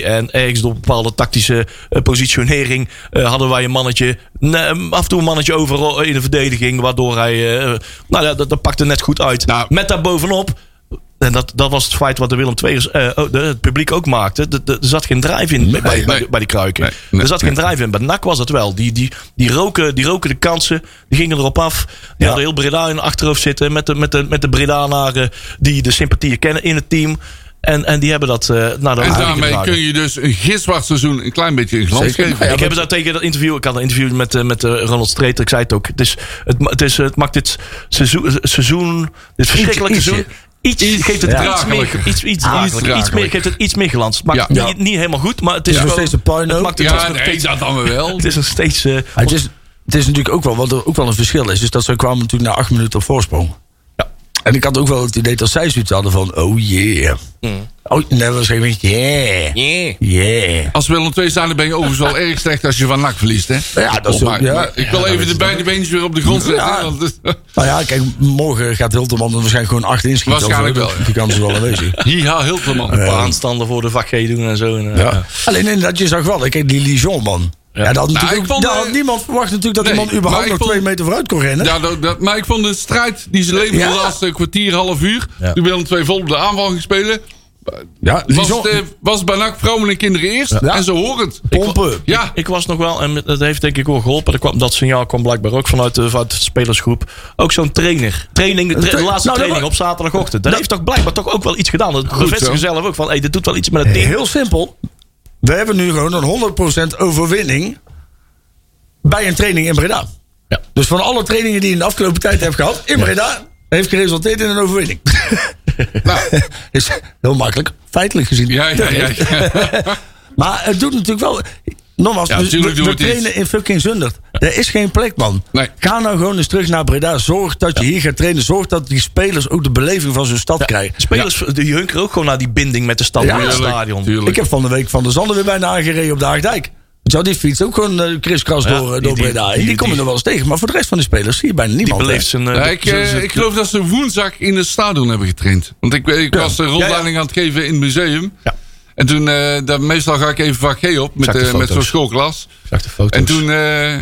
Speaker 2: 5-3-2. En ergens door bepaalde tactische eh, positionering. eh, hadden wij een mannetje. nee, af en toe een mannetje over eh, in de verdediging. Waardoor hij. eh, nou ja, dat, dat pakte net goed uit.
Speaker 3: Nou.
Speaker 2: Met daarbovenop. En dat, dat was het feit wat de Willem II is, eh, oh, de- het publiek ook maakte. De- de- er zat geen drijf in bij, bij, bij
Speaker 3: nee.
Speaker 2: die- bij die kruiken.
Speaker 3: Nee, nee,
Speaker 2: er zat geen drijf in. Bij NAC was dat wel. Die, die, die, roken, die roken de kansen. Die gingen erop af. Die hadden heel Breda in hun achterhoofd zitten. Met de, met de, met de Bredanaren die de sympathieën kennen in het team. En, en die hebben dat eh naar de
Speaker 3: En
Speaker 2: overwinning
Speaker 3: daarmee
Speaker 2: gedragen.
Speaker 3: kun je dus een gitzwart seizoen een klein beetje in glans
Speaker 4: Zeker.
Speaker 3: geven.
Speaker 4: Ja,
Speaker 2: ik heb het daar tegen dat interview. Ik had een interview met, eh, met eh, Ronald Streeter. Ik zei het ook. Het, is, het, ma- het, is, eh, het maakt dit seizoen, seizoen dit verschrikkelijke
Speaker 4: ietsje.
Speaker 2: seizoen. Iets, geeft het
Speaker 4: ja.
Speaker 2: iets meer,
Speaker 3: Draaglijker.
Speaker 2: iets, iets,
Speaker 3: Ah,
Speaker 2: draaglijker. iets meer,
Speaker 3: draaglijker.
Speaker 2: geeft het iets meer glans. Het maakt
Speaker 3: Ja.
Speaker 2: niet-
Speaker 4: Ja.
Speaker 2: Niet, helemaal goed, maar het is,
Speaker 4: Het is nog
Speaker 2: gewoon-
Speaker 4: steeds een puinhoop.
Speaker 2: Het maakt het
Speaker 3: Ja,
Speaker 2: nog
Speaker 3: nee,
Speaker 2: steeds.
Speaker 3: dat dan weer
Speaker 4: [LAUGHS]
Speaker 3: wel.
Speaker 2: Het is nog steeds. eh,
Speaker 4: Maar Het is, het is natuurlijk ook wel wat er ook wel een verschil is. Is dat zij kwamen natuurlijk na acht minuten op voorsprong. En ik had ook wel het idee dat zij zoiets hadden van... Oh yeah. Oh, nee, dat was geen beetje... Yeah.
Speaker 2: Yeah.
Speaker 4: Yeah.
Speaker 3: Als Willem II staan, dan ben je overigens wel erg slecht als je van NAC verliest. Hè?
Speaker 4: Ja, dat is
Speaker 3: Maar-
Speaker 4: ook- ja.
Speaker 3: maar ik wil
Speaker 4: Ja, dat
Speaker 3: even
Speaker 4: is
Speaker 3: de
Speaker 4: het
Speaker 3: beide beentjes weer op de grond zetten.
Speaker 4: Ja.
Speaker 3: want het- [LAUGHS]
Speaker 4: Nou ja, kijk, morgen gaat Hilterman er waarschijnlijk gewoon acht inschieten.
Speaker 3: Waarschijnlijk
Speaker 4: Of zo.
Speaker 3: wel, ja.
Speaker 4: Die kans is wel
Speaker 3: [LAUGHS]
Speaker 4: aanwezig.
Speaker 3: Hier haal heel veel man.
Speaker 2: een paar aanstanden voor de vak G doen en zo. En, eh, ja.
Speaker 4: Ehm. Ja. Alleen inderdaad, je zag wel, kijk, die Lijon man. Ja. dat had, natuurlijk
Speaker 3: ik
Speaker 4: ook-
Speaker 3: vond,
Speaker 4: daar
Speaker 3: eh,
Speaker 4: had niemand verwacht natuurlijk dat
Speaker 3: nee,
Speaker 4: iemand
Speaker 3: maar
Speaker 4: überhaupt
Speaker 3: ik
Speaker 4: nog
Speaker 3: vond-
Speaker 4: twee meter vooruit kon rennen.
Speaker 3: Ja, dat, dat- maar ik vond de strijd die ze leverden
Speaker 4: Ja.
Speaker 3: de laatste kwartier, half uur.
Speaker 2: Ja.
Speaker 3: Toen Willem II vol op de aanval ging spelen.
Speaker 4: Ja,
Speaker 3: Was,
Speaker 4: Lijon-
Speaker 3: het, eh, was bij NAC vrouwen en kinderen eerst.
Speaker 4: Ja.
Speaker 3: En ze horen het.
Speaker 4: Pompen.
Speaker 3: Ja,
Speaker 2: Ah, Ik was nog wel, en dat heeft denk ik wel geholpen. Er kwam, dat signaal kwam blijkbaar ook vanuit de, vanuit de spelersgroep. Ook zo'n trainer. Training, tra- de
Speaker 4: tra-
Speaker 2: laatste
Speaker 4: Nou, dat
Speaker 2: training
Speaker 4: wa- Nou-
Speaker 2: op zaterdagochtend. Dat heeft toch blijkbaar toch ook wel iets gedaan. Dat bevestigen
Speaker 3: zo.
Speaker 2: zelf ook van, hey, dit doet wel iets met het team.
Speaker 4: Heel simpel. We hebben nu gewoon een 100% overwinning bij een training in Breda.
Speaker 2: Ja.
Speaker 4: Dus van alle trainingen die je in de afgelopen tijd hebt gehad in Breda, heeft geresulteerd in een overwinning.
Speaker 3: Nou,
Speaker 4: [LAUGHS] is heel makkelijk, feitelijk gezien.
Speaker 3: ja, ja, ja.
Speaker 4: [LAUGHS] Maar het doet natuurlijk wel. Nogmaals,
Speaker 3: Ja,
Speaker 4: we-
Speaker 3: natuurlijk
Speaker 4: we,
Speaker 3: doet
Speaker 4: we
Speaker 3: het iets.
Speaker 4: trainen in fucking Zundert. Er is geen plek, man.
Speaker 3: Nee.
Speaker 4: Ga nou gewoon eens terug naar Breda. Zorg dat je hier gaat trainen. Zorg dat die spelers ook de beleving van zijn stad krijgen.
Speaker 2: Spelers die hunkeren ook gewoon naar die binding met de stad
Speaker 4: Ja,
Speaker 2: en het
Speaker 3: Tuurlijk,
Speaker 2: stadion.
Speaker 3: tuurlijk.
Speaker 4: Ik heb van de week van de Zanden weer bijna aangereden op de Haagdijk. Want die fiets ook gewoon eh, kriskras
Speaker 2: Ja,
Speaker 4: door, eh,
Speaker 2: die-
Speaker 4: door
Speaker 2: die-
Speaker 4: Breda.
Speaker 2: die-
Speaker 4: En die
Speaker 2: die-
Speaker 4: komen er wel eens tegen. Maar voor de rest van de spelers zie je bijna
Speaker 2: Die
Speaker 4: niemand.
Speaker 2: beleeft
Speaker 4: hè.
Speaker 2: zijn... eh,
Speaker 3: Ja,
Speaker 2: de-
Speaker 3: ik, eh,
Speaker 2: zijn- zijn-
Speaker 3: ik geloof dat ze woensdag in het stadion hebben getraind. Want ik, ik was de rondleiding aan het geven in het museum.
Speaker 2: Ja.
Speaker 3: En toen, eh, daar, meestal ga ik even van G op met,
Speaker 2: Zag de
Speaker 3: eh, met
Speaker 2: foto's.
Speaker 3: zo'n schoolklas.
Speaker 2: zag de foto's.
Speaker 3: En toen eh,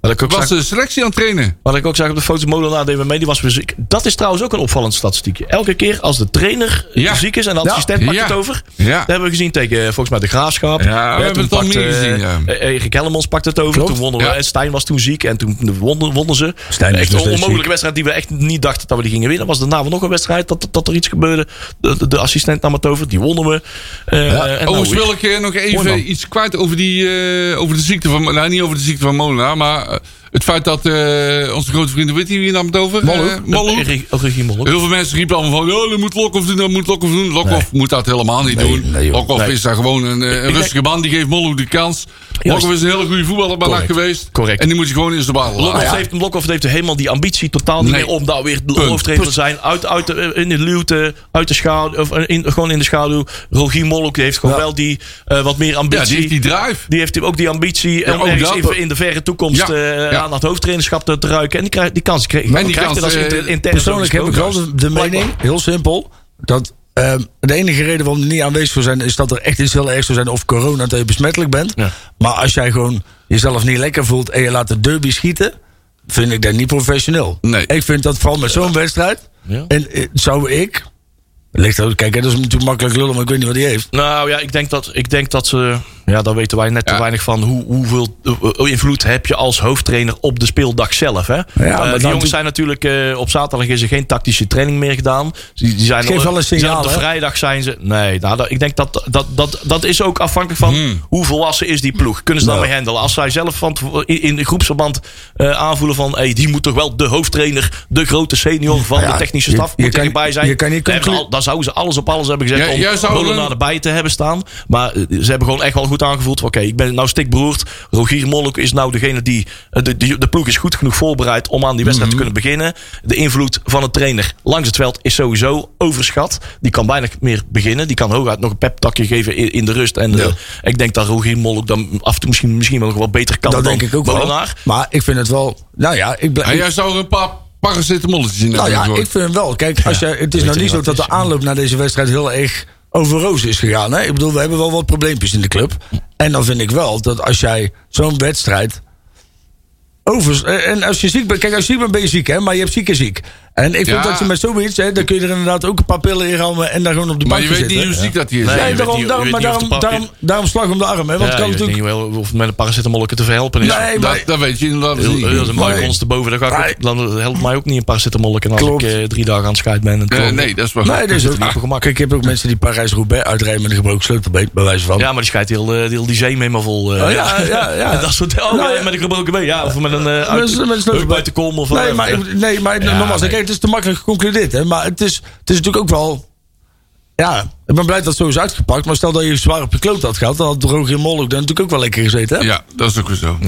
Speaker 2: Wat ik ook
Speaker 3: was
Speaker 2: zag-
Speaker 3: de selectie aan het trainen.
Speaker 2: Wat ik ook zag op de foto, Molenaar deed me mee, die was weer ziek. Dat is trouwens ook een opvallend statistiekje. Elke keer als de trainer
Speaker 3: Ja.
Speaker 2: ziek is en de assistent
Speaker 3: Ja.
Speaker 2: pakt het
Speaker 3: Ja.
Speaker 2: over.
Speaker 3: Ja.
Speaker 2: Dat hebben we gezien tegen eh, volgens mij de Graafschap. Eh,
Speaker 3: Ja, we hebben het al meer gezien, ja.
Speaker 2: Erik Hellemons pakt het over.
Speaker 4: Klopt.
Speaker 2: Toen wonnen we.
Speaker 3: Ja.
Speaker 2: en Stijn was toen ziek en toen wonnen, wonnen ze.
Speaker 4: Stijn is
Speaker 2: echt
Speaker 4: nog
Speaker 2: een
Speaker 4: steeds
Speaker 2: onmogelijke
Speaker 4: ziek.
Speaker 2: wedstrijd die we echt niet dachten dat we die gingen winnen. Was daarna wel nog een wedstrijd dat, dat er iets gebeurde. De, de- de assistent nam het over. Die wonnen we. Eh, en nou,
Speaker 3: Overigens wil ik eh, nog even
Speaker 2: man.
Speaker 3: iets kwijt over, die, eh, over de ziekte van... Nou, niet over de ziekte van Molenaar, maar eh, het feit dat eh, onze grote vriend de Witty hier nam het over. eh, Molhoek.
Speaker 2: Regie- oh, Regie Molhoek.
Speaker 3: Heel veel mensen riepen allemaal van, oh, dat moet Lokhoff doen, dat moet Lokhoff doen. Lokhoff moet dat helemaal niet
Speaker 4: Nee,
Speaker 3: doen.
Speaker 4: nee, joh.
Speaker 3: Lokhoff
Speaker 4: Nee.
Speaker 3: is daar gewoon een, eh, een rustige man, die geeft Molhoek de kans. Lokhoff is een hele goede voetballer bij NAC geweest.
Speaker 2: Correct.
Speaker 3: En die moet je gewoon in de bal
Speaker 2: Lokhoff
Speaker 3: laten.
Speaker 2: heeft, Lokhoff heeft helemaal die ambitie totaal niet
Speaker 3: Nee.
Speaker 2: meer om daar weer de
Speaker 3: Punt.
Speaker 2: hoofdtrainer te zijn. Uit, uit de, in de luwte, uit de schaduw, of eh, in, gewoon in de schaduw. Rogier Molloek die heeft gewoon wel die eh, wat meer ambitie.
Speaker 3: Ja, die heeft die drive.
Speaker 2: Die heeft ook die ambitie om
Speaker 3: ook
Speaker 2: ergens
Speaker 3: dat.
Speaker 2: even in de verre toekomst
Speaker 3: Ja,
Speaker 2: eh,
Speaker 3: ja.
Speaker 2: aan het hoofdtrainerschap te, te ruiken. En die, krijgt die kans kreeg
Speaker 3: En die
Speaker 2: krijgt
Speaker 3: kans,
Speaker 2: hij als
Speaker 3: eh,
Speaker 2: inter- interne
Speaker 4: Persoonlijk heb ik wel
Speaker 2: zo'n
Speaker 4: de, de mening, heel simpel, dat ehm, de enige reden waarom er niet aanwezig voor zijn, is dat er echt iets heel ergs zou zijn of corona dat je besmettelijk bent.
Speaker 2: Ja.
Speaker 4: Maar als jij gewoon jezelf niet lekker voelt en je laat de derby schieten, vind ik dat niet professioneel.
Speaker 3: Nee.
Speaker 4: Ik vind dat vooral met zo'n wedstrijd.
Speaker 2: Ja.
Speaker 4: En eh, zou ik, ligt er ook, kijk, hè, dat is natuurlijk makkelijk lullen, maar ik weet niet wat hij heeft.
Speaker 2: Nou ja, ik denk dat, ik denk dat ze. Ja, daar weten wij net te
Speaker 3: Ja.
Speaker 2: weinig van. Hoe, hoeveel eh, invloed heb je als hoofdtrainer op de speeldag zelf? Hè?
Speaker 4: maar
Speaker 2: Eh, die
Speaker 4: dan
Speaker 2: jongens
Speaker 4: natuurlijk-
Speaker 2: zijn natuurlijk. eh, op zaterdag is er geen tactische training meer gedaan. Die, die zijn
Speaker 4: Het geeft
Speaker 2: al-
Speaker 4: wel een
Speaker 2: die zijn
Speaker 4: signaal,
Speaker 2: op de
Speaker 4: hè?
Speaker 2: vrijdag zijn ze. Nee, nou, dat- ik denk dat dat, dat dat is ook afhankelijk van
Speaker 4: Hmm.
Speaker 2: hoe volwassen is die ploeg. Kunnen ze daarmee handelen? Als zij zelf van, tevo- in, in groepsverband eh, aanvoelen van. Hey, die moet toch wel de hoofdtrainer, de grote senior van
Speaker 4: Ja,
Speaker 2: de technische
Speaker 4: je-
Speaker 2: staf.
Speaker 4: je
Speaker 2: moet
Speaker 4: kan-
Speaker 2: erbij zijn.
Speaker 4: je kan niet
Speaker 2: Daar hebben ze al- daar zouden ze alles op alles hebben gezet.
Speaker 3: Ja,
Speaker 2: om
Speaker 3: jij zou
Speaker 2: Molenaar
Speaker 3: een-
Speaker 2: erbij bij te hebben staan. Maar eh, ze hebben gewoon echt wel goed aangevoeld. van, Oké, ik ben nou stikbroerd. Rogier Molk is nou degene die. eh, De, de, de ploeg is goed genoeg voorbereid om aan die wedstrijd
Speaker 4: Mhm.
Speaker 2: te kunnen beginnen. De invloed van een trainer langs het veld is sowieso overschat. Die kan bijna meer beginnen. Die kan hooguit nog een peptakje geven in, in de rust. En eh, ik denk dat Rogier Molk dan af en toe misschien, misschien wel nog wat beter kan.
Speaker 4: dat
Speaker 2: Oh, dan
Speaker 4: denk ik ook wel.
Speaker 2: Molenaar.
Speaker 4: Maar ik vind het wel, nou ja, ik blijf.
Speaker 3: En jij zou er een paar paracetamolletjes in
Speaker 4: Nou
Speaker 3: hebben
Speaker 4: ja, ik
Speaker 3: gegooid.
Speaker 4: vind hem wel. Kijk, als jij, het is nou niet zo dat de aanloop naar deze wedstrijd heel erg over roos is gegaan. Hè? Ik bedoel, we hebben wel wat probleempjes in de club. En dan vind ik wel dat als jij zo'n wedstrijd. Over, en als je ziek bent, kijk, als je ziek bent ben je ziek, hè? maar je hebt ziek en ziek. En ik vind
Speaker 3: Ja.
Speaker 4: dat je met zoiets, hè, dan kun je er inderdaad ook een paar pillen in rammen en daar gewoon op de
Speaker 3: Maar
Speaker 4: bank
Speaker 3: je
Speaker 4: zitten.
Speaker 3: weet niet hoe ziek dat hier is.
Speaker 2: Nee.
Speaker 4: Nee,
Speaker 2: je
Speaker 4: daarom,
Speaker 2: weet niet-
Speaker 4: daarom,
Speaker 2: je
Speaker 4: maar
Speaker 2: weet niet of
Speaker 4: daarom,
Speaker 2: de
Speaker 4: daarom,
Speaker 2: pa-
Speaker 4: daarom, slag om de arm, hè? want
Speaker 2: Ja,
Speaker 4: het kan
Speaker 2: je weet
Speaker 4: natuurlijk.
Speaker 2: niet wel of met een paracetamolletje te verhelpen is.
Speaker 4: Nee,
Speaker 3: Dat,
Speaker 4: maar-
Speaker 3: dat weet je inderdaad
Speaker 2: Heel,
Speaker 3: niet.
Speaker 2: heel, een
Speaker 3: Nee.
Speaker 2: buik ons te boven, dan, ga ik ook- dan helpt mij ook niet een paracetamolken als
Speaker 4: Klopt.
Speaker 2: ik eh, drie dagen aan het scheid ben. En
Speaker 3: Eh,
Speaker 2: het klopt.
Speaker 3: nee, dat is wel
Speaker 4: Nee, dat is ook
Speaker 3: Ja.
Speaker 4: niet gemakkelijk. Ik heb ook mensen die Parijs-Roubaix uitrijden met een gebroken sleutelbeen, bij wijze van.
Speaker 2: Ja, maar die scheidt heel, eh, heel die zee mee maar vol. eh.
Speaker 4: Oh, ja, ja, ja.
Speaker 2: En [LAUGHS] dat soort oh,
Speaker 4: Nou,
Speaker 2: ja,
Speaker 4: ja.
Speaker 2: met een gebroken been. Ja, of met een eh
Speaker 4: Met
Speaker 2: uit,
Speaker 4: een- met een sleutel-
Speaker 2: heup uit de kom. Of eh,
Speaker 4: Nee,
Speaker 2: whatever.
Speaker 4: maar, ik- nee, maar nogmaals,
Speaker 2: nee.
Speaker 4: Kijk, het is te makkelijk geconcludeerd. Hè, maar het is, het is natuurlijk ook wel... Ja, ik ben blij dat het zo is uitgepakt. Maar stel dat je zwaar op je kloot had gehad... dan had Rogier Molhoek daar natuurlijk ook wel lekker gezeten. Hè?
Speaker 3: Ja, dat is ook weer zo.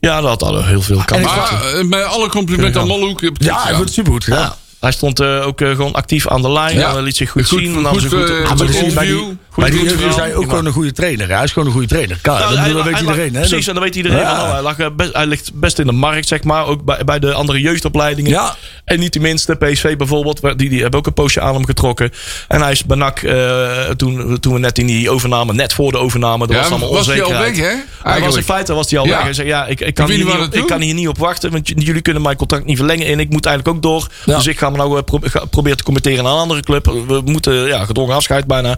Speaker 2: ja, dat had al heel veel kansen.
Speaker 3: Maar eh, met alle complimenten aan Molhoek. je hebt het
Speaker 4: Ja,
Speaker 3: gedaan.
Speaker 4: goed, supergoed gedaan.
Speaker 2: Ja. Hij stond eh, ook eh, gewoon actief aan de lijn.
Speaker 3: Ja.
Speaker 2: en liet zich goed,
Speaker 3: Goed-
Speaker 2: zien. nam ze
Speaker 3: goed, eh,
Speaker 2: goed,
Speaker 3: goed
Speaker 2: op de
Speaker 4: dat zie je bij die-
Speaker 3: interview. Goed
Speaker 4: Bij die
Speaker 3: interview.
Speaker 4: jeugd is hij ook gewoon een goede trainer. hè. Hij is gewoon een goede trainer. Klaar,
Speaker 2: Nou,
Speaker 4: dat,
Speaker 2: hij-
Speaker 4: dat weet
Speaker 2: hij
Speaker 4: iedereen.
Speaker 2: lag-
Speaker 4: hè.
Speaker 2: Precies, en dat weet iedereen.
Speaker 4: Ja.
Speaker 2: van, oh, hij, lag, eh, best- hij ligt best in de markt, zeg maar. Ook bij, bij de andere jeugdopleidingen.
Speaker 4: Ja.
Speaker 2: En niet tenminste, PSV bijvoorbeeld. waar- Die, die hebben ook een poosje aan hem getrokken. En hij is bij NAC, eh, toen, toen we net in die overname, net voor de overname, dat
Speaker 3: Ja,
Speaker 2: was allemaal
Speaker 3: was hij al
Speaker 2: onzekerheid.
Speaker 3: weg, hè?
Speaker 2: Hij was in
Speaker 3: Eigenlijk.
Speaker 2: feite was hij al
Speaker 3: Ja.
Speaker 2: weg. Hij zei, ja, ik, ik, kan hier
Speaker 3: weet niet
Speaker 2: niet,
Speaker 3: waar
Speaker 2: op- ik
Speaker 3: naartoe.
Speaker 2: kan hier niet op wachten, want j- jullie kunnen mijn contract niet verlengen. En ik moet eigenlijk ook door.
Speaker 4: Ja.
Speaker 2: Dus ik ga me nou eh, pro- ga- proberen te committeren aan een andere club. We moeten, ja, gedwongen afscheid bijna.